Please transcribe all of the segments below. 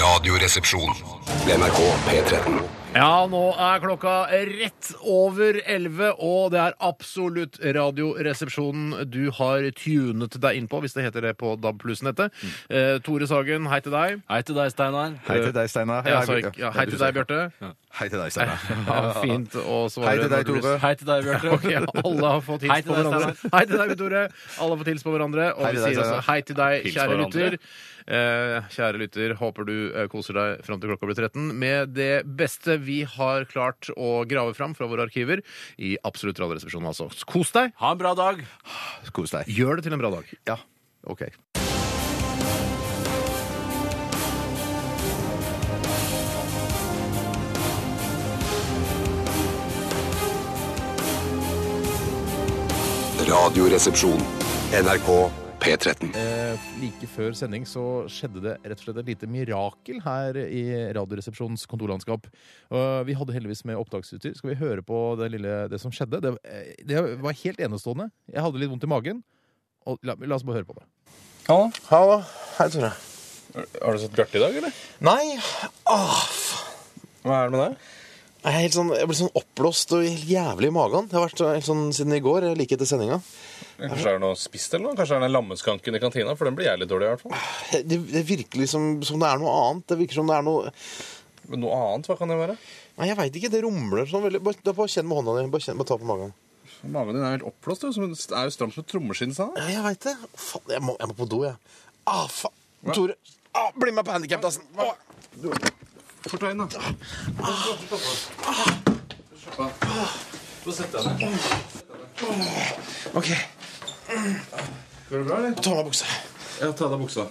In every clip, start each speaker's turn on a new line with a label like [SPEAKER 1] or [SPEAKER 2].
[SPEAKER 1] Radioresepsjon.
[SPEAKER 2] NRK P13.
[SPEAKER 3] Ja, nå er klokka rett over 11, og det er absolutt Radioresepsjonen du har tunet deg inn på, hvis det heter det på DAB nettet Eh, Tore Sagen, hei til deg.
[SPEAKER 4] Hei til deg, Steinar.
[SPEAKER 5] Hei til deg, Steinar.
[SPEAKER 3] Ja, altså, ikke- ja, hei til deg, Bjarte.
[SPEAKER 5] Hei til deg, Steinar.
[SPEAKER 3] Ja, fint å svare.
[SPEAKER 5] Hei til deg,
[SPEAKER 3] når du blir-
[SPEAKER 5] Tore.
[SPEAKER 4] Hei til deg, Bjarte.
[SPEAKER 3] Ok, alle har fått
[SPEAKER 4] Hei
[SPEAKER 3] hils
[SPEAKER 4] til
[SPEAKER 3] på
[SPEAKER 4] deg,
[SPEAKER 3] hverandre. Hei til deg, Tore. Alle har fått hils på hverandre. Og
[SPEAKER 5] Hei
[SPEAKER 3] vi
[SPEAKER 5] til deg,
[SPEAKER 3] sier også
[SPEAKER 5] Steinar.
[SPEAKER 3] hei til deg,
[SPEAKER 4] Hils
[SPEAKER 3] kjære
[SPEAKER 4] hverandre.
[SPEAKER 3] lytter. Eh, kjære lytter, håper du eh, koser deg fram til klokka blir 13 med det beste vi har klart å grave fram fra våre arkiver i Absolutt Radioresepsjonen, altså. Kos deg!
[SPEAKER 4] Ha en bra dag.
[SPEAKER 5] Kos deg.
[SPEAKER 3] Gjør det til en bra dag.
[SPEAKER 5] Ja, OK.
[SPEAKER 1] Radioresepsjon. NRK P13.
[SPEAKER 3] Eh, like før sending så skjedde det rett og slett et lite mirakel her i Radioresepsjonens kontorlandskap. Eh, vi hadde heldigvis med opptaksutstyr. Skal vi høre på det, lille, det som skjedde? Det, eh, det var helt enestående. Jeg hadde litt vondt i magen. Og la, la oss bare høre på det.
[SPEAKER 6] Hallo. Hallo. Hei, Tore.
[SPEAKER 3] Har du sett Bjarte i dag, eller?
[SPEAKER 6] Nei. Åh, faen.
[SPEAKER 4] Hva er det med deg?
[SPEAKER 6] Jeg, er helt sånn, jeg blir sånn oppblåst og helt jævlig i magen. Jeg har vært helt sånn siden i går, like etter sendinga.
[SPEAKER 4] Kanskje er det noe spist eller noe? Kanskje er det den lammeskanken i kantina? For den blir jeg litt dårlig i hvert fall.
[SPEAKER 6] Eh, Det, det virker liksom som det er noe annet. Det virker som det er noe
[SPEAKER 4] Men noe annet, hva kan det være?
[SPEAKER 6] Nei, jeg veit ikke. Det rumler sånn veldig. Bare, da bare kjenn med hånda di. Bare, kjenn, bare ta på magen.
[SPEAKER 4] Magen din er helt oppblåst. Det er jo stramt som et trommeskinn. sa han.
[SPEAKER 6] Ja, jeg veit det. Faen, jeg må, jeg må på do, jeg. Ah, faen. Tore. Ah, bli med på handikapdassen. Ah.
[SPEAKER 4] Fort deg inn, da. Slapp av. Få sette deg ned.
[SPEAKER 6] OK.
[SPEAKER 4] Går det bra, eller?
[SPEAKER 6] Ta av meg buksa.
[SPEAKER 4] Ja, ta av deg buksa.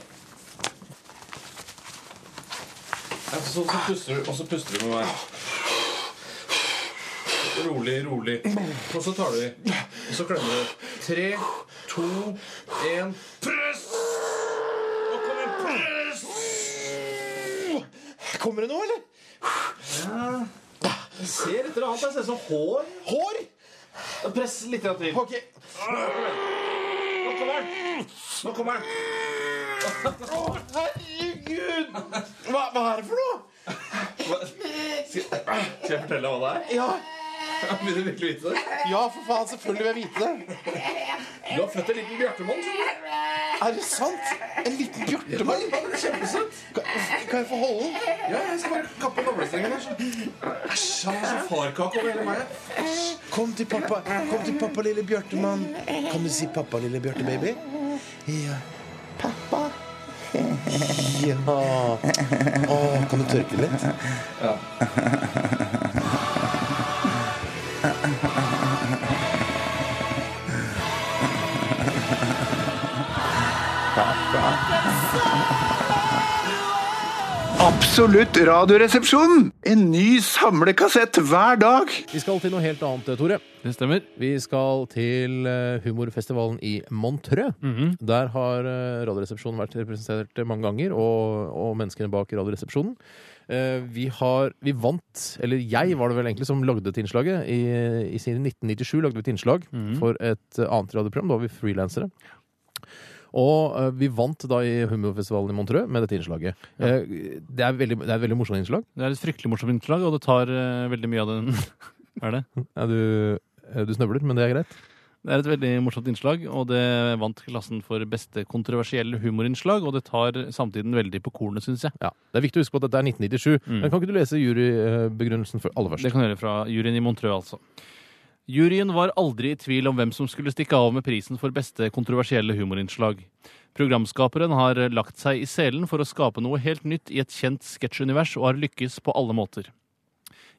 [SPEAKER 4] Ja, så, så puster du, og så puster du med meg. Rolig, rolig. Og så tar du i. Og så klemmer du. Tre, to, én Press! Nå kommer press!
[SPEAKER 6] Kommer det noe, eller?
[SPEAKER 4] Jeg ser et eller annet. Jeg ser som hår.
[SPEAKER 6] Hår?
[SPEAKER 4] Press litt grann til.
[SPEAKER 6] OK.
[SPEAKER 4] Nå kommer den! Nå kommer den!
[SPEAKER 6] Herregud! Hva, hva er det for noe?
[SPEAKER 4] Skal jeg fortelle deg hva det er?
[SPEAKER 6] Ja.
[SPEAKER 4] Vil du virkelig vite det?
[SPEAKER 6] Ja, for faen, selvfølgelig vil jeg vite det.
[SPEAKER 4] Du har født en liten bjartemann. skjønner du.
[SPEAKER 6] Er det sant? En liten bjørtemann?
[SPEAKER 4] Kjempesøt.
[SPEAKER 6] Kan, kan jeg få holde den?
[SPEAKER 4] Ja, jeg skal bare kappe navlestrengen her. så. Æsj, han har sånn farkake over hele meg.
[SPEAKER 6] Kom til pappa, kom til pappa, lille bjørtemann. Kan du si pappa, lille bjørtebaby? Ja. Pappa. Ja. Å, kan du tørke litt?
[SPEAKER 7] Absolutt radioresepsjon. En ny samlekassett hver dag.
[SPEAKER 3] Vi skal til noe helt annet, Tore.
[SPEAKER 8] Det stemmer.
[SPEAKER 3] Vi skal til eh, humorfestivalen i Montreux.
[SPEAKER 8] Mhm.
[SPEAKER 3] Der har eh, Radioresepsjonen vært representert mange ganger, og, og menneskene bak Radioresepsjonen. Eh, Vi, har, vi vant, eller jeg var det vel egentlig som lagde dette innslaget. I, i sin 1997 lagde vi et innslag
[SPEAKER 8] Mhm.
[SPEAKER 3] for et eh, annet radioprogram. Da var vi frilansere. Og eh, vi vant da i humorfestivalen i Montreux med dette innslaget. Eh, det, er veldig, det er et veldig morsomt innslag.
[SPEAKER 8] Det er et fryktelig morsomt innslag, og det tar eh, veldig mye av den. er det?
[SPEAKER 3] Ja, du, eh, du snøvler, men det er greit.
[SPEAKER 8] Det er et veldig morsomt innslag, og det vant klassen for beste kontroversielle humorinnslag, og det tar samtiden veldig på kornet, syns jeg.
[SPEAKER 3] Ja, Det er viktig å huske på at dette er 1997. Men Kan ikke du lese jurybegrunnelsen for aller
[SPEAKER 8] Det
[SPEAKER 3] først?
[SPEAKER 8] kan jeg gjøre fra juryen i Montreux, altså. Juryen var aldri i tvil om hvem som skulle stikke av med prisen for beste kontroversielle humorinnslag. Programskaperen har lagt seg i selen for å skape noe helt nytt i et kjent sketsjunivers, og har lykkes på alle måter.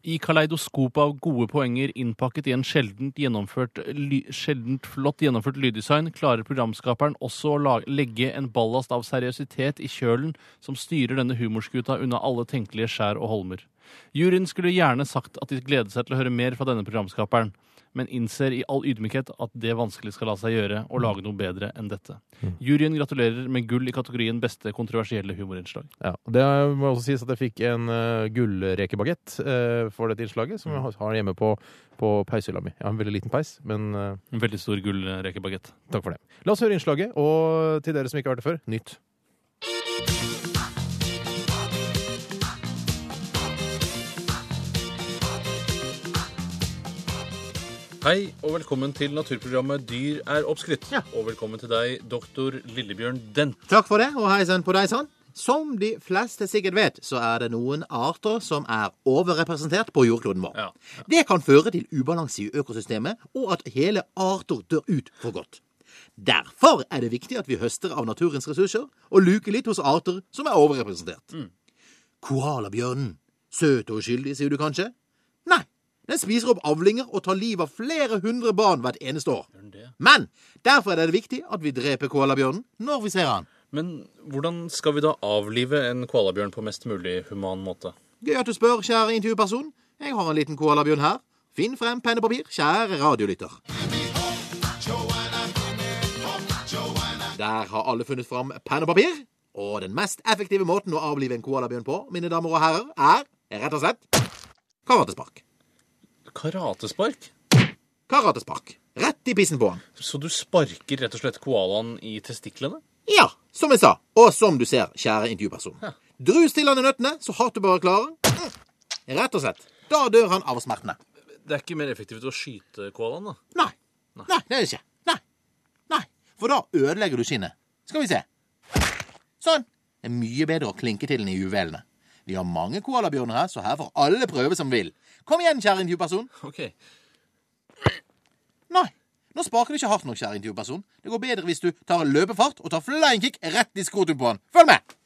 [SPEAKER 8] I kaleidoskopet av gode poenger innpakket i en sjeldent, gjennomført, ly, sjeldent flott gjennomført lyddesign, klarer programskaperen også å la, legge en ballast av seriøsitet i kjølen som styrer denne humorskuta unna alle tenkelige skjær og holmer. Juryen skulle gjerne sagt at de gleder seg til å høre mer fra denne programskaperen, men innser i all ydmykhet at det vanskelig skal la seg gjøre å lage noe bedre enn dette. Juryen gratulerer med gull i kategorien beste kontroversielle humorinnslag.
[SPEAKER 3] Ja, og det må også sies at jeg fikk en uh, gullrekebagett eh, for dette innslaget, som jeg har- har hjemme på, på peishylla mi. Jeg har en veldig liten peis, men eh,
[SPEAKER 8] En veldig stor gullrekebagett.
[SPEAKER 3] takk for det. La oss høre innslaget, og til dere som ikke har hørt det før, nytt.
[SPEAKER 8] Hei, og velkommen til naturprogrammet Dyr er oppskrytt. Og velkommen til deg, doktor Lillebjørn Dent.
[SPEAKER 9] Takk for det, og hei sann på deg sann. Som de fleste sikkert vet, så er det noen arter som er overrepresentert på jordkloden vår.
[SPEAKER 8] Ja,
[SPEAKER 9] Det kan føre til ubalanse i økosystemet, og at hele arter dør ut for godt. Derfor er det viktig at vi høster av naturens ressurser og luker litt hos arter som er overrepresentert. Koalabjørnen. Søt og uskyldig, sier du kanskje? Nei. Den spiser opp avlinger og tar livet av flere hundre barn hvert eneste år. Men derfor er det viktig at vi dreper koalabjørnen når vi ser han.
[SPEAKER 8] Men hvordan skal vi da avlive en koalabjørn på mest mulig human måte?
[SPEAKER 9] Gøy at du spør, kjære intervjuperson. Jeg har en liten koalabjørn her. Finn frem penn og papir, kjære radiolytter. Der har alle funnet fram penn og papir. Og den mest effektive måten å avlive en koalabjørn på, mine damer og herrer, er rett og slett karatespark.
[SPEAKER 8] Karatespark?
[SPEAKER 9] Karatespark. Rett i pissen på han.
[SPEAKER 8] Så du sparker rett og slett koalaen i testiklene?
[SPEAKER 9] Ja, som jeg sa, og som du ser, kjære intervjuperson. Drus til han i nøttene, så hardt du bare klarer. Mm. Rett og slett. Da dør han av smertene.
[SPEAKER 8] Det er ikke mer effektivt å skyte koalaen, da?
[SPEAKER 9] Nei. Nei, det er det ikke. Nei. Nei. For da ødelegger du skinnet. Skal vi se. Sånn. Det er mye bedre å klinke til den i uvelene. Vi har mange koalabjørner her, så her får alle prøve som vil. Kom igjen, kjære intervjuperson.
[SPEAKER 8] OK.
[SPEAKER 9] Nei. Nå sparker du ikke hardt nok, kjære intervjuperson. Det går bedre hvis du tar løpefart og tar flying kick rett i skrotum på han. Følg med!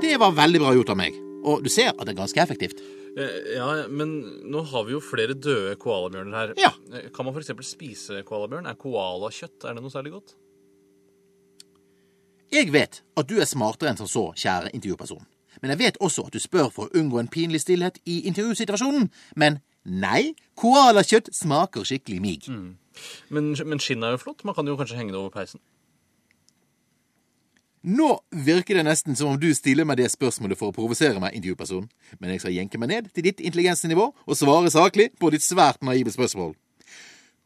[SPEAKER 9] Det var veldig bra gjort av meg. Og du ser at det er ganske effektivt.
[SPEAKER 8] Eh, Ja, men nå har vi jo flere døde koalabjørner her.
[SPEAKER 9] Ja.
[SPEAKER 8] Eh, Kan man f.eks. spise koalabjørn? Er koalakjøtt er det noe særlig godt?
[SPEAKER 9] Jeg vet at du er smartere enn som så, kjære intervjuperson. Men jeg vet også at du spør for å unngå en pinlig stillhet i intervjusituasjonen. Men nei, koalakjøtt smaker skikkelig mig.
[SPEAKER 8] Men, men skinnet er jo flott. Man kan jo kanskje henge det over peisen.
[SPEAKER 9] Nå virker det nesten som om du stiller meg det spørsmålet for å provosere meg, intervjuperson. Men jeg skal jenke meg ned til ditt intelligensnivå og svare saklig på ditt svært naive spørsmål.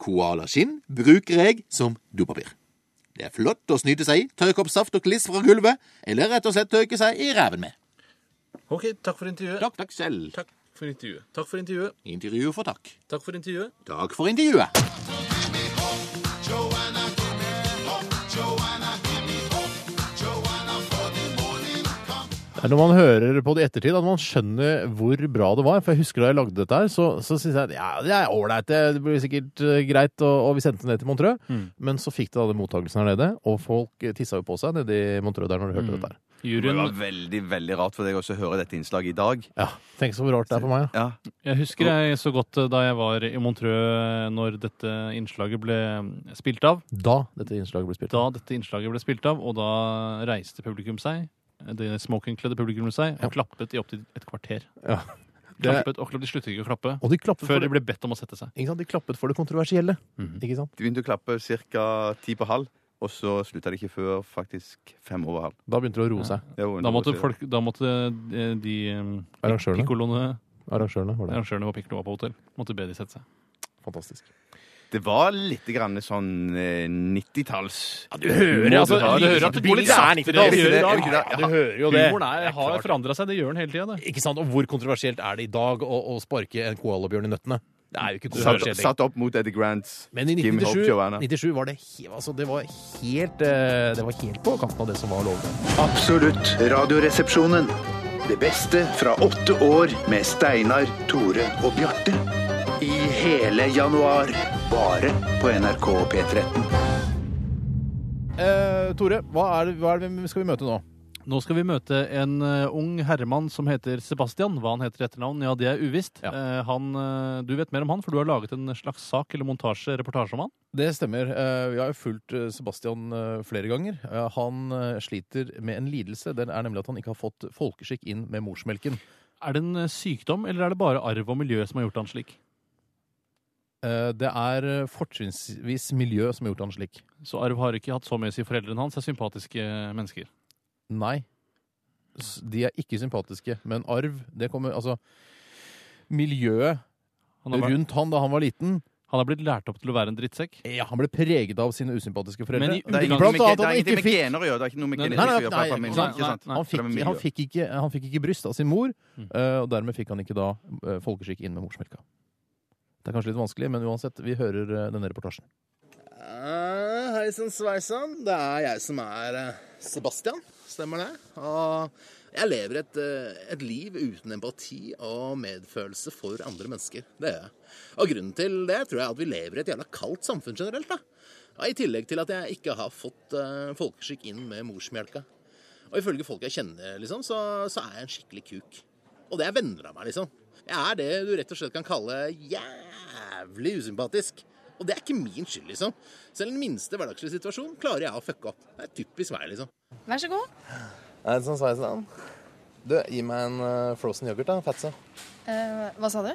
[SPEAKER 9] Koalaskinn bruker jeg som dopapir. Det er flott å snyte seg i, tørke opp saft og kliss fra gulvet, eller rett og slett tørke seg i ræven med.
[SPEAKER 8] OK, takk for intervjuet.
[SPEAKER 9] Takk, takk selv.
[SPEAKER 8] Takk for intervjuet. Takk for intervjuet.
[SPEAKER 9] Intervju for takk.
[SPEAKER 8] Takk for intervjuet.
[SPEAKER 9] Takk for intervjuet.
[SPEAKER 3] Det er når man hører på det i ettertid, at man skjønner hvor bra det var. For jeg husker da jeg lagde dette her, så, så syntes jeg at ja, det er ålreit, det blir sikkert eh, greit, og, og vi sendte det ned til Montreux. Men så fikk det da den mottakelsen her nede, og folk eh, tissa jo på seg nede i Montreux der når de hørte dette her.
[SPEAKER 5] Det
[SPEAKER 8] Juryen
[SPEAKER 5] var veldig veldig rart for deg også å høre dette innslaget i dag.
[SPEAKER 3] Ja, Tenk så rart det er for meg, ja.
[SPEAKER 5] Ja,
[SPEAKER 8] Jeg husker jeg så godt eh, da jeg var i Montreux eh, når dette innslaget ble eh, spilt av.
[SPEAKER 3] Da dette innslaget ble spilt.
[SPEAKER 8] Da dette innslaget ble spilt av, og da reiste publikum seg, eh, det smokingkledde publikum seg, og klappet i opptil et kvarter.
[SPEAKER 3] Ja. Det-
[SPEAKER 8] Klappet og klappet, De sluttet ikke å klappe
[SPEAKER 3] Og de Mhm. klappet,
[SPEAKER 8] før
[SPEAKER 3] for
[SPEAKER 8] de
[SPEAKER 3] det,
[SPEAKER 8] ble bedt om å sette seg.
[SPEAKER 3] ikke sant? de klappet for det kontroversielle. Ikke sant?
[SPEAKER 5] De begynte å klappe ca. ti på halv, og så slutta det ikke før faktisk fem over halv.
[SPEAKER 3] Da begynte det å roe seg.
[SPEAKER 5] Det var
[SPEAKER 8] Da måtte,
[SPEAKER 5] underbrukt.
[SPEAKER 8] folk, da måtte eh, de eh,
[SPEAKER 3] Arrangørene.
[SPEAKER 8] piccoloene,
[SPEAKER 3] Arrangørene var det.
[SPEAKER 8] arrangørene på Piccolo var på hotell, måtte be de sette seg.
[SPEAKER 3] Fantastisk.
[SPEAKER 5] Det var litt grann sånn eh, 90-talls
[SPEAKER 3] Du hører,
[SPEAKER 8] altså, du hører at det går litt saktere enn det gjør i dag.
[SPEAKER 3] Du hører jo det.
[SPEAKER 8] Humoren er, har forandra seg, det gjør den hele tida. det.
[SPEAKER 3] Ikke sant? Og hvor kontroversielt er det i dag å, å sparke en koalabjørn i nøttene? Det er jo ikke
[SPEAKER 5] satt,
[SPEAKER 3] kontroversielt. lenger.
[SPEAKER 5] satt opp mot Eddie Grants
[SPEAKER 3] Men i
[SPEAKER 5] Kim Hope
[SPEAKER 3] 1997,
[SPEAKER 5] Joanna.
[SPEAKER 3] 97 var det, he, altså, det var helt eh, Det var helt på kanten av det som var lovlig.
[SPEAKER 1] Absolutt Radioresepsjonen. Det beste fra åtte år med Steinar, Tore og Bjarte. I hele januar. Bare på NRK P13.
[SPEAKER 3] Eh, Tore, hva, er det, hva er det, vi- skal vi møte nå?
[SPEAKER 8] Nå skal vi møte en eh, ung herremann som heter Sebastian. Hva han heter i etternavn, ja, det er uvisst. Eh, han, eh, du vet mer om han, for du har laget en slags sak eller montasje, reportasje om han.
[SPEAKER 3] Det stemmer. Eh, Vi har jo fulgt eh, Sebastian eh, flere ganger. Eh, Han eh, sliter med en lidelse. Den er nemlig at han ikke har fått folkeskikk inn med morsmelken.
[SPEAKER 8] Er det en eh, sykdom, eller er det bare arv og miljø som har gjort han slik?
[SPEAKER 3] Eh, Det er eh, fortrinnsvis miljø som har gjort han slik.
[SPEAKER 8] Så arv har ikke hatt så mye å si. Foreldrene hans er sympatiske eh, mennesker.
[SPEAKER 3] Nei. S- De er ikke sympatiske, men arv, det kommer Altså, miljøet
[SPEAKER 8] Han har vært-
[SPEAKER 3] rundt han da han var liten
[SPEAKER 8] Han er blitt lært opp til å være en drittsekk.
[SPEAKER 3] Ja, han ble preget av sine usympatiske foreldre.
[SPEAKER 8] Men i utgangspunktet-
[SPEAKER 3] Blant annet
[SPEAKER 8] Det er
[SPEAKER 3] at han
[SPEAKER 8] ingenting
[SPEAKER 3] ikke
[SPEAKER 8] med
[SPEAKER 3] fikk
[SPEAKER 8] gener å gjøre, det er ikke noe med
[SPEAKER 3] Nei, nei,
[SPEAKER 8] genetikk å
[SPEAKER 3] nei, nei,
[SPEAKER 8] gjøre fra familien,
[SPEAKER 3] ikke sant,
[SPEAKER 8] ikke sant?
[SPEAKER 3] nei, Han
[SPEAKER 8] Fra
[SPEAKER 3] fikk,
[SPEAKER 8] miljø.
[SPEAKER 3] han, fikk ikke, han fikk ikke bryst av sin mor, eh, og dermed fikk han ikke da eh, folkeskikk inn med morsmelka. Det er kanskje litt vanskelig, men uansett, vi hører eh, denne reportasjen.
[SPEAKER 10] Eh, Hei sann, sveisann. Det er jeg som er eh, Sebastian. Stemmer det? Og jeg lever et, eh, et liv uten empati og medfølelse for andre mennesker. Det gjør jeg. Og grunnen til det tror jeg at vi lever i et jævla kaldt samfunn generelt. da. Ja, I tillegg til at jeg ikke har fått eh, folkeskikk inn med morsmelka. Og ifølge folk jeg kjenner, liksom, så, så er jeg en skikkelig kuk. Og det er venner av meg, liksom. Jeg er det du rett og slett kan kalle jævlig usympatisk. Og det er ikke min skyld, liksom. Selv den minste hverdagslige situasjon klarer jeg å fucke opp. Det er typisk meg, liksom.
[SPEAKER 11] Vær så god.
[SPEAKER 10] Er det sånn sveisen?
[SPEAKER 9] Du, gi meg en eh, frozen yoghurt, da, Fatso.
[SPEAKER 11] Eh, hva sa du?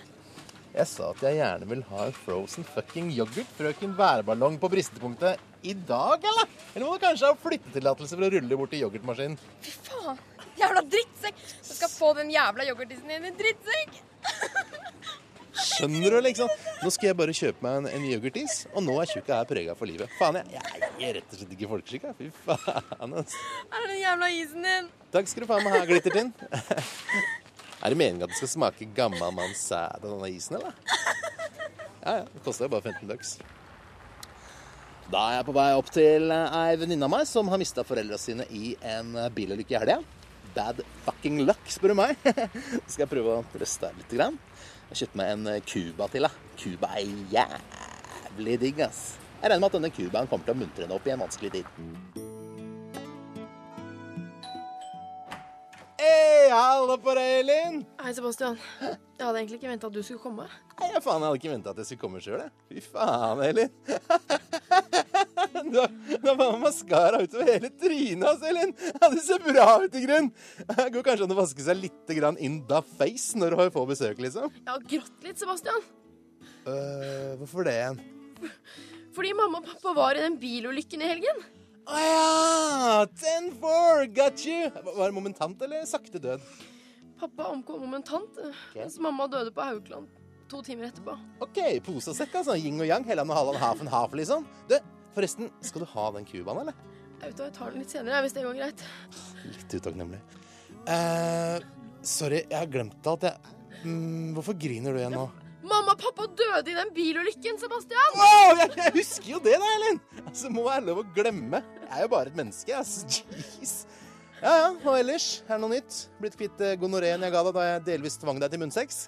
[SPEAKER 9] Jeg sa at jeg gjerne vil ha en frozen fucking yoghurt, frøken værballong på bristepunktet, i dag, eller? Eller må du kanskje ha flyttetillatelse for å rulle bort til yoghurtmaskinen?
[SPEAKER 11] Fy faen! Jævla drittsekk! Du skal få den jævla yoghurtisen din, din drittsekk!
[SPEAKER 9] Skjønner du, liksom? Nå skal jeg bare kjøpe meg en, en yoghurtis, og nå er tjukka her prega for livet. Faen, jeg, jeg eier rett og slett ikke folkeskikk, jeg. Fy faen, altså. ass.
[SPEAKER 11] Her er den jævla isen din!
[SPEAKER 9] Takk skal du faen meg ha, Glittertinn. Er det meningen at det skal smake gammel manns sæd av denne isen, eller? Ja, ja. Det koster jo bare 15 bucks. Da er jeg på vei opp til eh, ei venninne av meg som har mista foreldra sine i en eh, bilulykke i helga. Bad fucking luck, spør du meg. Så skal jeg prøve å trøste henne litt. Grann. Jeg kjøpte meg en eh, Cuba til. da. Cuba er jævlig digg, ass. Jeg regner med at denne Cubaen kommer til å muntre henne opp i en vanskelig tid. Hei, halla på deg, Elin!
[SPEAKER 12] Hei, Sebastian. Jeg hadde egentlig ikke venta at du skulle komme.
[SPEAKER 9] Nei, jeg faen, jeg hadde ikke venta at jeg skulle komme sjøl, jeg. Fy faen, Elin. Du har du har faen meg maskara utover hele trynet hans, Elin. Ja, du ser bra ut i grunn. Det går kanskje an å vaske seg litt grann in the face når du får besøk, liksom.
[SPEAKER 12] Jeg har grått litt, Sebastian.
[SPEAKER 9] Øh, hvorfor det igjen?
[SPEAKER 12] Fordi mamma og pappa var i den bilulykken i helgen.
[SPEAKER 9] Å ja! Ten four, got you! Var det momentant eller sakte død?
[SPEAKER 12] Pappa omkom momentant, eh, mens mamma døde på Haukeland to timer etterpå.
[SPEAKER 9] OK, pose og sekk, altså. Yin og yang. Helland og Halland, half and half, liksom. Du, forresten, skal du ha den cubaen, eller?
[SPEAKER 12] Jeg vet hva, jeg tar den litt senere, hvis det går greit.
[SPEAKER 9] Litt utakknemlig. Eh, sorry, jeg har glemt at jeg mm, Hvorfor griner du igjen nå?
[SPEAKER 12] Mamma og pappa døde i den bilulykken, Sebastian!
[SPEAKER 9] Wow, jeg, jeg husker jo det, da, Elin! Altså, må være lov å glemme. Jeg er jo bare et menneske, ass. Jeez. Ja, ja. Og ellers? Er det noe nytt? Blitt kvitt eh, gonoréen jeg ga deg da jeg delvis tvang deg til munnsex?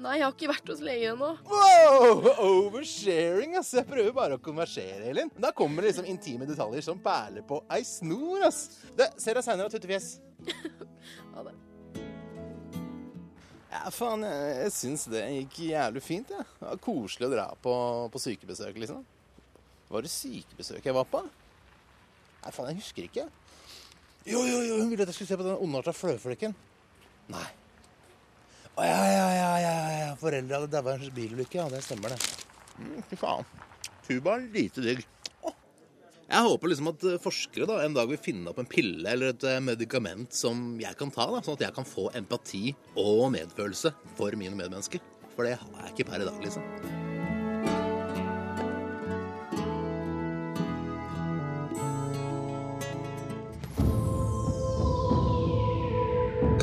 [SPEAKER 12] Nei, jeg har ikke vært hos legen ennå.
[SPEAKER 9] Wow! Oversharing, ass. Jeg prøver bare å konversere, Elin. Da kommer det liksom intime detaljer som perler på ei snor, ass. Du, ser deg seinere, tuttefjes.
[SPEAKER 12] Ha det.
[SPEAKER 9] Ja, faen, jeg, jeg syns det gikk jævlig fint, jeg. Det var koselig å dra på, på sykebesøk, liksom. Var det sykebesøk jeg var på? Nei, faen, jeg husker ikke. Jo, jo, jo, hun ville at jeg skulle se på den ondarta fløflekken. Nei. Å ja, ja, ja, ja, ja. Foreldra hadde daua i en bilulykke, ja. Det stemmer, det. Mm, Fy faen. Cuba er lite digg. Jeg håper liksom at eh, forskere da, en dag vil finne opp en pille eller et eh, medikament som jeg kan ta, da, sånn at jeg kan få empati og medfølelse for mine medmennesker. For det har jeg ikke per i dag, liksom.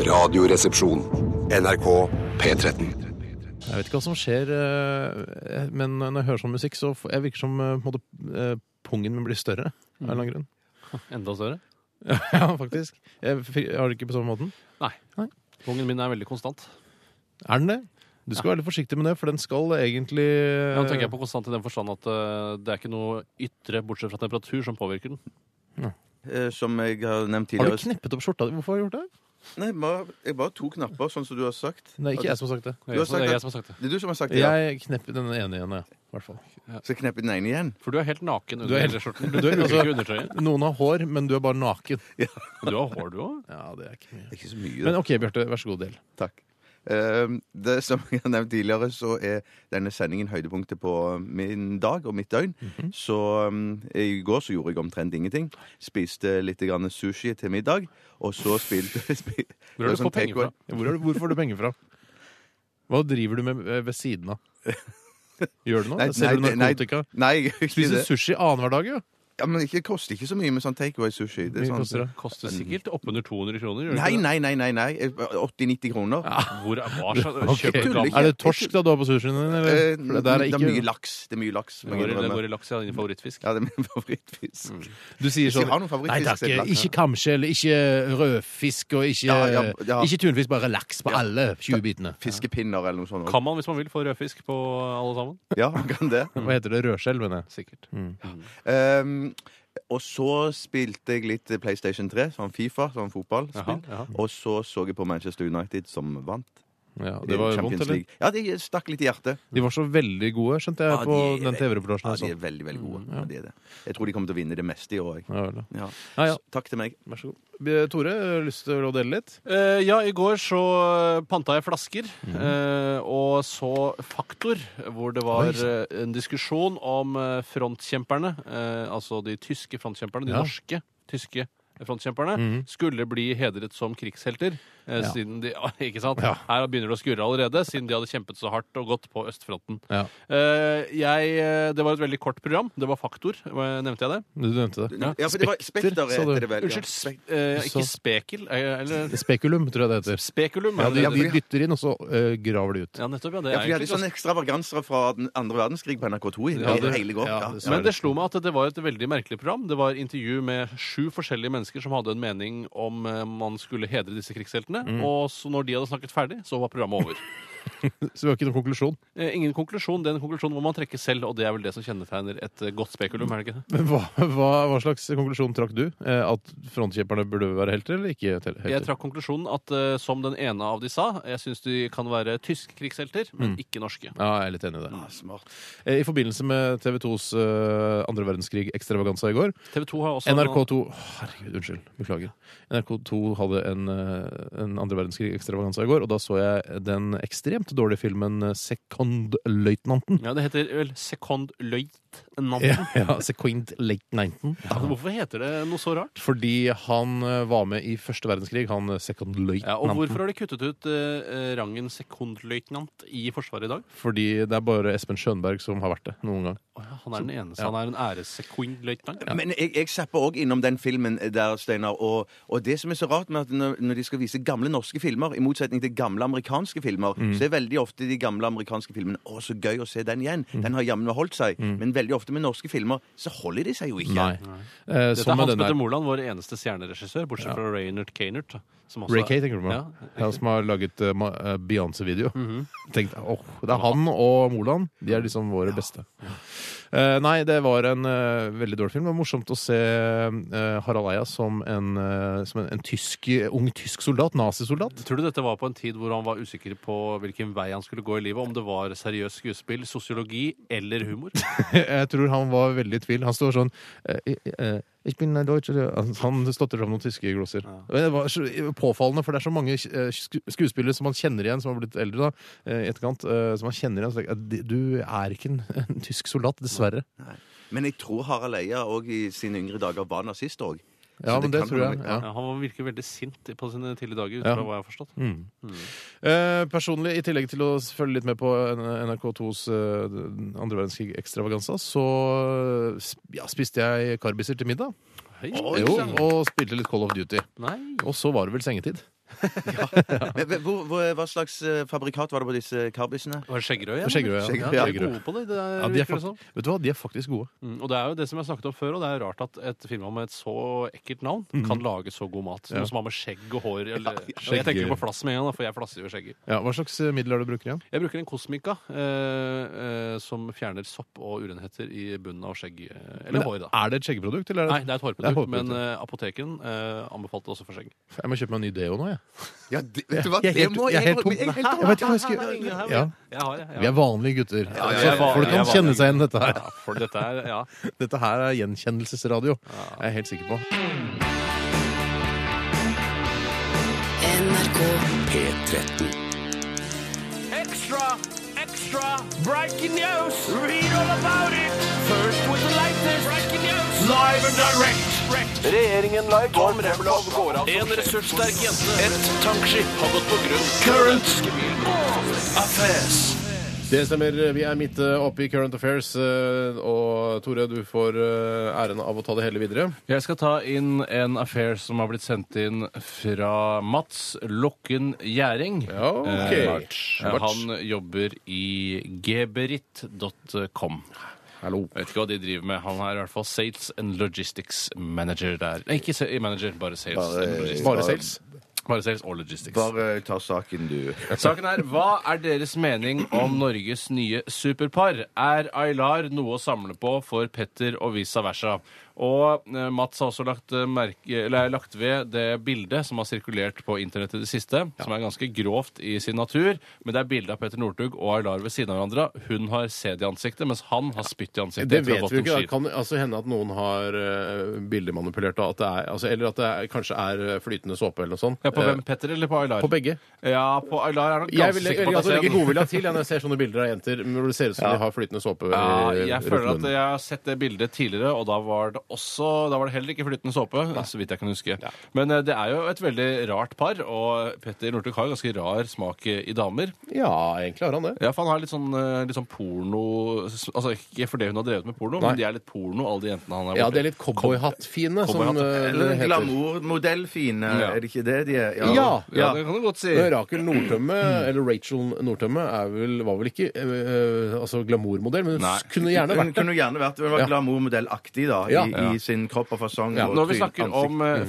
[SPEAKER 1] Radioresepsjon. NRK P13.
[SPEAKER 3] Jeg vet ikke hva som skjer, eh, men når jeg hører sånn musikk, så får- jeg virker som eh, på en måte, eh, pungen min blir større. Av en eller annen grunn.
[SPEAKER 8] Enda større?
[SPEAKER 3] ja, faktisk. Jeg, fikk- har det ikke på samme måten?
[SPEAKER 8] Nei. Pungen min er veldig konstant.
[SPEAKER 3] Er den det? Du skal være litt forsiktig med det, for den skal egentlig
[SPEAKER 8] Ja, nå tenker jeg på konstant i den forstand at eh, det er ikke noe ytre bortsett fra temperatur som påvirker den.
[SPEAKER 3] Ja.
[SPEAKER 5] eh, som jeg har nevnt
[SPEAKER 3] Har du
[SPEAKER 5] tidligere
[SPEAKER 3] kneppet opp skjorta di? Hvorfor har du gjort det?
[SPEAKER 5] Nei, bare, jeg bare to knapper, sånn som du har sagt.
[SPEAKER 3] Det er ikke
[SPEAKER 5] At-
[SPEAKER 3] jeg som har sagt det.
[SPEAKER 5] Du har sagt
[SPEAKER 3] Det er
[SPEAKER 5] det.
[SPEAKER 3] jeg som har sagt det.
[SPEAKER 5] Det er du som har sagt det, ja.
[SPEAKER 3] Jeg knepper den ene igjen, jeg. I hvert fall.
[SPEAKER 5] Så jeg knepper den ene igjen?
[SPEAKER 8] For du er helt naken
[SPEAKER 3] Du
[SPEAKER 8] under
[SPEAKER 3] er
[SPEAKER 8] hele
[SPEAKER 3] helt,
[SPEAKER 8] skjorten.
[SPEAKER 3] du er,
[SPEAKER 8] bruker ikke undertøyet.
[SPEAKER 3] altså, noen har hår, men du er bare naken.
[SPEAKER 8] Du har hår, du òg?
[SPEAKER 3] Ja, det er ikke mye.
[SPEAKER 5] Ikke så mye.
[SPEAKER 3] Men OK, Bjarte, vær så god, del.
[SPEAKER 5] Takk. Ehm, Det som jeg har nevnt tidligere, så er denne sendingen høydepunktet på min dag og mitt døgn.
[SPEAKER 3] Mhm.
[SPEAKER 5] Så um, i går så gjorde jeg omtrent ingenting. Spiste litt grann sushi til middag, og så spilte spi-
[SPEAKER 3] Hvor har
[SPEAKER 5] det
[SPEAKER 3] du
[SPEAKER 5] var sånn
[SPEAKER 3] fått penger
[SPEAKER 5] takeaway.
[SPEAKER 3] fra? Hvor, har du- hvor får du penger fra? Hva driver du med eh, ved siden av? Gjør du noe?
[SPEAKER 5] Nei,
[SPEAKER 3] Selger du
[SPEAKER 5] nei, nei,
[SPEAKER 3] narkotika?
[SPEAKER 5] Nei, jeg gjør ikke
[SPEAKER 3] Spiser
[SPEAKER 5] det.
[SPEAKER 3] sushi annenhver dag, jo.
[SPEAKER 5] Ja, men det koster ikke så mye med sånn takeaway-sushi.
[SPEAKER 8] Mye
[SPEAKER 5] sånn,
[SPEAKER 8] koster det? Koster sikkert oppunder 200 kroner. gjør det
[SPEAKER 5] Nei,
[SPEAKER 8] ikke det?
[SPEAKER 5] nei, nei. nei, nei. 80-90 kroner.
[SPEAKER 8] Hvor er hva slags
[SPEAKER 3] Ok.
[SPEAKER 8] kjøper du gammel-
[SPEAKER 3] Er det torsk da du har på sushien din?
[SPEAKER 5] Eh,
[SPEAKER 3] eller? For
[SPEAKER 5] det,
[SPEAKER 3] der
[SPEAKER 5] er
[SPEAKER 3] ikke-
[SPEAKER 5] mye laks. Det er mye laks.
[SPEAKER 8] Det går i- det går i laks, ja. Din favorittfisk.
[SPEAKER 5] Ja, det er min favorittfisk.
[SPEAKER 3] Du sier
[SPEAKER 5] Hvis jeg
[SPEAKER 3] sånn
[SPEAKER 5] har noen
[SPEAKER 3] Nei
[SPEAKER 5] favorittfisk,
[SPEAKER 3] takk,
[SPEAKER 5] så er det laks,
[SPEAKER 3] ikke kamskjell, ikke rødfisk og ikke,
[SPEAKER 5] Ja, ja, ja.
[SPEAKER 3] ikke tunfisk, bare laks på alle 20 bitene.
[SPEAKER 5] Fiskepinner eller noe sånt. også.
[SPEAKER 8] Kan man hvis man vil få rødfisk på alle sammen?
[SPEAKER 5] Ja, man kan det.
[SPEAKER 3] Hva heter det? Rødskjell, mener jeg.
[SPEAKER 8] Sikkert.
[SPEAKER 5] Ehm, og så spilte jeg litt PlayStation 3, sånn Fifa, sånn fotballspill.
[SPEAKER 3] Jaha, jaha.
[SPEAKER 5] Og så så jeg på Manchester United, som vant.
[SPEAKER 3] Ja, det var vondt,
[SPEAKER 5] Champions
[SPEAKER 3] eller?
[SPEAKER 5] League. Ja, det stakk litt i hjertet.
[SPEAKER 3] De var så veldig gode, skjønte jeg,
[SPEAKER 5] Ja,
[SPEAKER 3] på
[SPEAKER 5] de er
[SPEAKER 3] den
[SPEAKER 5] veldig-
[SPEAKER 3] TV-reportasjen.
[SPEAKER 5] Ja,
[SPEAKER 3] jeg så.
[SPEAKER 5] de er veldig, veldig gode. Ja, de er det. Jeg tror de kommer til å vinne det meste i år. jeg.
[SPEAKER 3] sånn. Mm, Ja, vel,
[SPEAKER 5] Ja.
[SPEAKER 3] Ja, ja.
[SPEAKER 5] Så Takk til meg.
[SPEAKER 3] Vær så god. Eh, Tore, har du lyst til å dele litt?
[SPEAKER 8] Eh, ja, i går så panta jeg flasker,
[SPEAKER 3] Mhm.
[SPEAKER 8] eh, og så Faktor, hvor det var
[SPEAKER 3] Oi, så-
[SPEAKER 8] eh, en diskusjon om eh, frontkjemperne, eh, altså de tyske frontkjemperne, de
[SPEAKER 3] Ja.
[SPEAKER 8] norske tyske frontkjemperne,
[SPEAKER 3] Mhm.
[SPEAKER 8] skulle bli hedret som krigshelter. eh,
[SPEAKER 3] Ja.
[SPEAKER 8] Siden de, ikke sant?
[SPEAKER 3] Ja.
[SPEAKER 8] Her begynner det å skurre allerede, siden de hadde kjempet så hardt og godt på østfronten.
[SPEAKER 3] Ja.
[SPEAKER 8] Eh, jeg, eh, det var et veldig kort program. Det var Faktor, eh, nevnte jeg det?
[SPEAKER 3] Du nevnte det.
[SPEAKER 8] Ja, for det var-
[SPEAKER 5] Spekter
[SPEAKER 3] sa du.
[SPEAKER 5] heter det vel.
[SPEAKER 8] Unnskyld, sp- eh,
[SPEAKER 3] Du sa-
[SPEAKER 8] ikke spekel, eh, eller
[SPEAKER 3] Spekulum, tror jeg det heter.
[SPEAKER 8] Spekulum,
[SPEAKER 3] ja,
[SPEAKER 8] er
[SPEAKER 3] de,
[SPEAKER 8] det
[SPEAKER 3] de
[SPEAKER 8] det heter?
[SPEAKER 3] dytter inn, og så eh, graver de ut.
[SPEAKER 8] Ja, nettopp, ja, det
[SPEAKER 5] Ja,
[SPEAKER 8] er
[SPEAKER 5] for de hadde
[SPEAKER 8] egentlig
[SPEAKER 5] sånne ekstravagansere fra den andre verdenskrig på NRK2 i
[SPEAKER 8] Ja,
[SPEAKER 5] hele-
[SPEAKER 8] det-
[SPEAKER 5] hele går.
[SPEAKER 8] ja,
[SPEAKER 5] Ja,
[SPEAKER 8] det- Men det slo meg at det var et veldig merkelig program. Det var intervju med sju forskjellige mennesker som hadde en mening om eh, man skulle hedre disse krigsheltene.
[SPEAKER 3] Mm.
[SPEAKER 8] Og så når de hadde snakket ferdig, så var programmet over.
[SPEAKER 3] Så det var ikke noen konklusjon.
[SPEAKER 8] Eh, Ingen konklusjon. Den konklusjonen må man trekke selv, og det er vel det som kjennetegner et eh, godt spekulum, er det ikke det?
[SPEAKER 3] Men hva, hva, hva slags konklusjon trakk du? Eh, at frontkjemperne burde være helter, eller ikke tel-
[SPEAKER 8] Jeg
[SPEAKER 3] helter?
[SPEAKER 8] trakk konklusjonen at eh, som den ene av de sa, jeg syns de kan være tysk krigshelter, men
[SPEAKER 3] Mm.
[SPEAKER 8] ikke norske.
[SPEAKER 3] Ja, jeg er litt enig i det.
[SPEAKER 5] Ah, smart.
[SPEAKER 3] Eh, I forbindelse med TV 2s eh, andre verdenskrig-ekstravaganza i går
[SPEAKER 8] TV2 har også
[SPEAKER 3] NRK2 Herregud, unnskyld. Beklager. NRK2 hadde en, eh, en andre verdenskrig-ekstravaganza i går, og da så jeg den ekstremt dårlige filmen eh, Sekondløytnanten.
[SPEAKER 8] Ja, det heter vel Sekondløytnanten.
[SPEAKER 3] Ja, ja, Second Late 19.
[SPEAKER 8] Ja, men Altså, Hvorfor heter det noe så rart?
[SPEAKER 3] Fordi han eh, var med i første verdenskrig, han eh, second
[SPEAKER 8] Ja, og
[SPEAKER 3] løytnanten.
[SPEAKER 8] hvorfor har de kuttet ut eh, rangen sekondløytnant i Forsvaret i dag?
[SPEAKER 3] Fordi det er bare Espen Skjønberg som har vært det noen gang.
[SPEAKER 8] Ja, han er den eneste.
[SPEAKER 3] Ja.
[SPEAKER 8] Han er en æressekondløytnant.
[SPEAKER 5] Men jeg, jeg zapper òg innom den filmen eh, der, Steinar. Og, og det som er så rart med at når, når de skal vise gamle norske filmer, i motsetning til gamle amerikanske filmer,
[SPEAKER 3] Mm.
[SPEAKER 5] så er veldig ofte de gamle amerikanske filmene Å, så gøy å se den igjen.
[SPEAKER 3] Mm.
[SPEAKER 5] Den har jammen holdt seg. Men veldig ofte med norske filmer så holder de seg jo ikke.
[SPEAKER 3] Nei. Eh,
[SPEAKER 8] Dette
[SPEAKER 3] som
[SPEAKER 8] er
[SPEAKER 3] med
[SPEAKER 8] Hans
[SPEAKER 3] den der-
[SPEAKER 8] Petter Moland, vår eneste stjerneregissør, bortsett fra Reynert Kaynert. Som også
[SPEAKER 3] Ray
[SPEAKER 8] er-
[SPEAKER 3] Kay, tenker du på?
[SPEAKER 8] Ja. Mhm.
[SPEAKER 3] Ja, som har laget eh, ma- eh, Beyoncé-video. Tenk, åh, Det er han og Moland. De er liksom våre beste. Eh, nei, det var en eh, veldig dårlig film. Det var morsomt å se eh, Harald Eia som en, eh, som en, en tysk, ung tysk soldat. Nazisoldat.
[SPEAKER 8] Tror du dette var på en tid hvor han var usikker på hvilken vei han skulle gå i livet? Om det var seriøst skuespill, sosiologi eller humor?
[SPEAKER 3] Jeg tror han var veldig i tvil. Han står sånn eh, eh, Ich bin Deutsch Han han stotter fram noen tyske gloser. Det var så eh, påfallende, for det er så mange eh, sku- skuespillere som man kjenner igjen, som har blitt eldre da, eh, i etterkant, eh, som man kjenner igjen. Så tenker jeg, du er ikke en, en tysk soldat, dessverre.
[SPEAKER 5] Men jeg tror Harald Eia òg i sine yngre dager var nazist òg.
[SPEAKER 3] Ja, men det tror jeg, ja.
[SPEAKER 8] Ja, han virker veldig sint på sine tidlige dager, ut
[SPEAKER 3] Ja.
[SPEAKER 8] fra hva jeg har forstått.
[SPEAKER 3] Mm. Eh, personlig, i tillegg til å følge litt med på N- NRK2s eh, andre verdenskrig-ekstravaganza, så eh, sp- ja, spiste jeg karbiser til middag.
[SPEAKER 8] Hei.
[SPEAKER 3] Jo, og spilte litt Call of Duty.
[SPEAKER 8] Nei.
[SPEAKER 3] Og så var det vel sengetid.
[SPEAKER 5] Men, men hvor, hvor, hva slags eh, fabrikat var det på disse karbisene?
[SPEAKER 8] Var det Skjeggerøy?
[SPEAKER 5] igjen?
[SPEAKER 3] Skjeggerød, ja.
[SPEAKER 8] Ja, de er gode på det. det er,
[SPEAKER 3] ja, de er
[SPEAKER 8] virker det
[SPEAKER 3] fakt-
[SPEAKER 8] som.
[SPEAKER 3] Vet du hva, de er faktisk gode.
[SPEAKER 8] Mm, og det er jo det som jeg har snakket om før, og det er rart at et firma med et så ekkelt navn
[SPEAKER 3] Mhm.
[SPEAKER 8] kan lage så god mat.
[SPEAKER 3] Ja.
[SPEAKER 8] Noe som har med skjegg og hår eller,
[SPEAKER 3] skjegg.
[SPEAKER 8] Jeg tenker jo på flass med en gang, da, for jeg flasser jo i skjegget.
[SPEAKER 3] Ja, hva slags eh, middel er det du bruker igjen?
[SPEAKER 8] Jeg bruker en kosmika eh, eh, som fjerner sopp og urenheter i bunnen av skjegg eh, eller
[SPEAKER 3] Men
[SPEAKER 8] hår. da.
[SPEAKER 3] Er det et skjeggeprodukt? Eller er
[SPEAKER 8] Nei, det er et hårprodukt, men
[SPEAKER 3] hårprodukt, ja.
[SPEAKER 8] eh, apoteken eh, anbefalte også for skjegg.
[SPEAKER 3] Jeg må kjøpe meg en ny deo nå, jeg.
[SPEAKER 5] Ja,
[SPEAKER 8] vet du hva,
[SPEAKER 3] Jeg er
[SPEAKER 8] det
[SPEAKER 3] helt-
[SPEAKER 8] må
[SPEAKER 3] jeg. er
[SPEAKER 8] jeg-
[SPEAKER 3] helt tom.
[SPEAKER 8] jeg er helt tom.
[SPEAKER 3] Jeg vet ikke hva jeg skal ja.
[SPEAKER 8] Jeg har det, jeg har
[SPEAKER 3] Vi er
[SPEAKER 8] det.
[SPEAKER 3] vanlige gutter.
[SPEAKER 8] Ja, ja,
[SPEAKER 3] Så
[SPEAKER 8] jeg er van-
[SPEAKER 3] folk
[SPEAKER 8] jeg er
[SPEAKER 3] kan kjenne
[SPEAKER 8] vanlig
[SPEAKER 3] seg igjen i dette her.
[SPEAKER 8] Ja, for dette er- ja.
[SPEAKER 3] Dette her er gjenkjennelsesradio. Jeg er helt sikker på.
[SPEAKER 2] P13.
[SPEAKER 13] Extra, extra, breaking news. Read all about it. First with the latest breaking news. Live and direct.
[SPEAKER 14] Regjeringen live går med
[SPEAKER 13] En ressurssterk jente. Et tankskip har gått på grunn. Current affairs.
[SPEAKER 3] Det stemmer. Vi er midt eh, oppe i Current Affairs. eh, Og Tore, du får eh, æren av å ta det hele videre.
[SPEAKER 8] Jeg skal ta inn en affair som har blitt sendt inn fra Mats Lokken Gjæring. Ja,
[SPEAKER 3] ok. Mats.
[SPEAKER 8] han jobber i geberit.com.
[SPEAKER 3] Hallo.
[SPEAKER 8] Vet ikke hva de driver med. Han er i hvert fall sales and logistics manager der. Nei, ikke sa- manager, bare sales.
[SPEAKER 5] Bare-
[SPEAKER 8] and logistics.
[SPEAKER 5] bare sales?
[SPEAKER 8] Bare sales og
[SPEAKER 5] Eh,
[SPEAKER 8] logistics.
[SPEAKER 5] Bare ta saken, du.
[SPEAKER 8] Saken er, Hva er deres mening om Norges nye superpar? Er Aylar noe å samle på for Petter og vice versa? Og eh, Mats har også lagt, eh, merke, eller, lagt ved det bildet som har sirkulert på internett i det siste, som er ganske grovt i sin natur. Men det er bilde av Petter Northug og Aylar ved siden av hverandre. Hun har sæd i ansiktet, mens han har spytt i ansiktet.
[SPEAKER 3] Det
[SPEAKER 8] etter å ha
[SPEAKER 3] vet
[SPEAKER 8] gått
[SPEAKER 3] vi jo
[SPEAKER 8] en
[SPEAKER 3] ikke.
[SPEAKER 8] ski.
[SPEAKER 3] Det kan altså hende at noen har eh, bildemanipulert, da, at det er, altså, eller at det er, kanskje er eh, flytende såpe eller noe sånt.
[SPEAKER 8] Ja, på
[SPEAKER 3] Eh,
[SPEAKER 8] hvem? Petter eller på Aylar?
[SPEAKER 3] På begge.
[SPEAKER 8] Ja, på Aylar er nok
[SPEAKER 3] Jeg
[SPEAKER 8] ganske
[SPEAKER 3] vil
[SPEAKER 8] sikker
[SPEAKER 3] jeg vil
[SPEAKER 8] på at
[SPEAKER 3] altså
[SPEAKER 8] det er
[SPEAKER 3] legge
[SPEAKER 8] sæd.
[SPEAKER 3] godvilja til når jeg ser sånne bilder av jenter hvor det ser ut som
[SPEAKER 8] Ja.
[SPEAKER 3] de har flytende såpe. i-
[SPEAKER 8] Ja, jeg
[SPEAKER 3] rundt
[SPEAKER 8] føler at eh,
[SPEAKER 3] munnen.
[SPEAKER 8] jeg har sett det bildet tidligere, og da var det også Da var det heller ikke flytende såpe, så vidt jeg kan huske. Men eh, det er jo et veldig rart par, og Petter Northug har jo ganske rar smak eh, i damer.
[SPEAKER 3] Ja, egentlig har han det.
[SPEAKER 8] Ja, for han har litt sånn, eh, litt sånn porno Altså ikke fordi hun har drevet med porno,
[SPEAKER 3] Nei.
[SPEAKER 8] men de er litt porno, alle de jentene han er
[SPEAKER 3] Ja, det er litt cowboyhatt-fine, som
[SPEAKER 8] Cowboyhatt.
[SPEAKER 3] eh,
[SPEAKER 8] Eller
[SPEAKER 3] det heter.
[SPEAKER 5] Glamourmodellfine,
[SPEAKER 3] Ja.
[SPEAKER 5] er det ikke det de er?
[SPEAKER 3] Ja,
[SPEAKER 5] Ja.
[SPEAKER 8] du godt si.
[SPEAKER 3] Men Rakel Nordtømme,
[SPEAKER 8] Mm.
[SPEAKER 3] eller Rachel Nordtømme, er vel, var vel ikke eh, altså glamourmodell, men hun
[SPEAKER 5] Nei.
[SPEAKER 3] kunne gjerne
[SPEAKER 5] Hun
[SPEAKER 3] vært
[SPEAKER 5] kunne gjerne vært det. Hun var
[SPEAKER 3] Ja.
[SPEAKER 5] glamourmodellaktig da, i,
[SPEAKER 3] Ja.
[SPEAKER 5] i sin kropp og fasong.
[SPEAKER 8] Ja,
[SPEAKER 5] og
[SPEAKER 8] når vi
[SPEAKER 5] tyn-
[SPEAKER 8] snakker
[SPEAKER 5] ansikt.
[SPEAKER 8] om eh,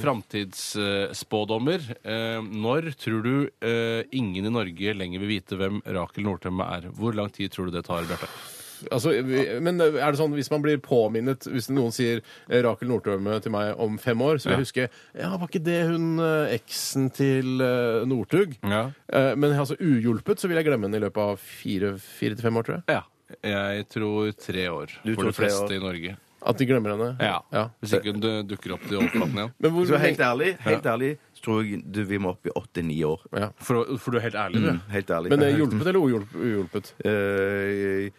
[SPEAKER 8] framtidsspådommer eh, Når tror du eh, ingen i Norge lenger vil vite hvem Rakel Nordtømme er? Hvor lang tid tror du det tar, Bjarte?
[SPEAKER 3] Altså, vi- men er det sånn hvis man blir påminnet Hvis noen sier eh, Rakel Nordtømme til meg om fem år, så vil jeg huske Ja, var ikke det hun eh, eksen til eh, Northug? Eh, Men altså uhjulpet så vil jeg glemme henne i løpet av fire, fire til fem år, tror jeg.
[SPEAKER 8] Ja. Jeg tror tre år
[SPEAKER 3] Du
[SPEAKER 8] for
[SPEAKER 3] tror
[SPEAKER 8] de
[SPEAKER 3] tre
[SPEAKER 8] fleste
[SPEAKER 3] år.
[SPEAKER 8] i Norge.
[SPEAKER 3] At de glemmer henne?
[SPEAKER 8] Ja. Hvis ikke hun du- dukker opp til overflaten igjen.
[SPEAKER 3] Men hvor-
[SPEAKER 5] Så helt ærlig, helt
[SPEAKER 8] Ja.
[SPEAKER 5] ærlig så tror jeg du, vi må opp i åtte-ni år.
[SPEAKER 8] For, å- for du er helt ærlig, du.
[SPEAKER 5] Mm, helt ærlig.
[SPEAKER 3] Men eh, hjulpet eller uhjulp- uhjulpet?
[SPEAKER 5] Eh,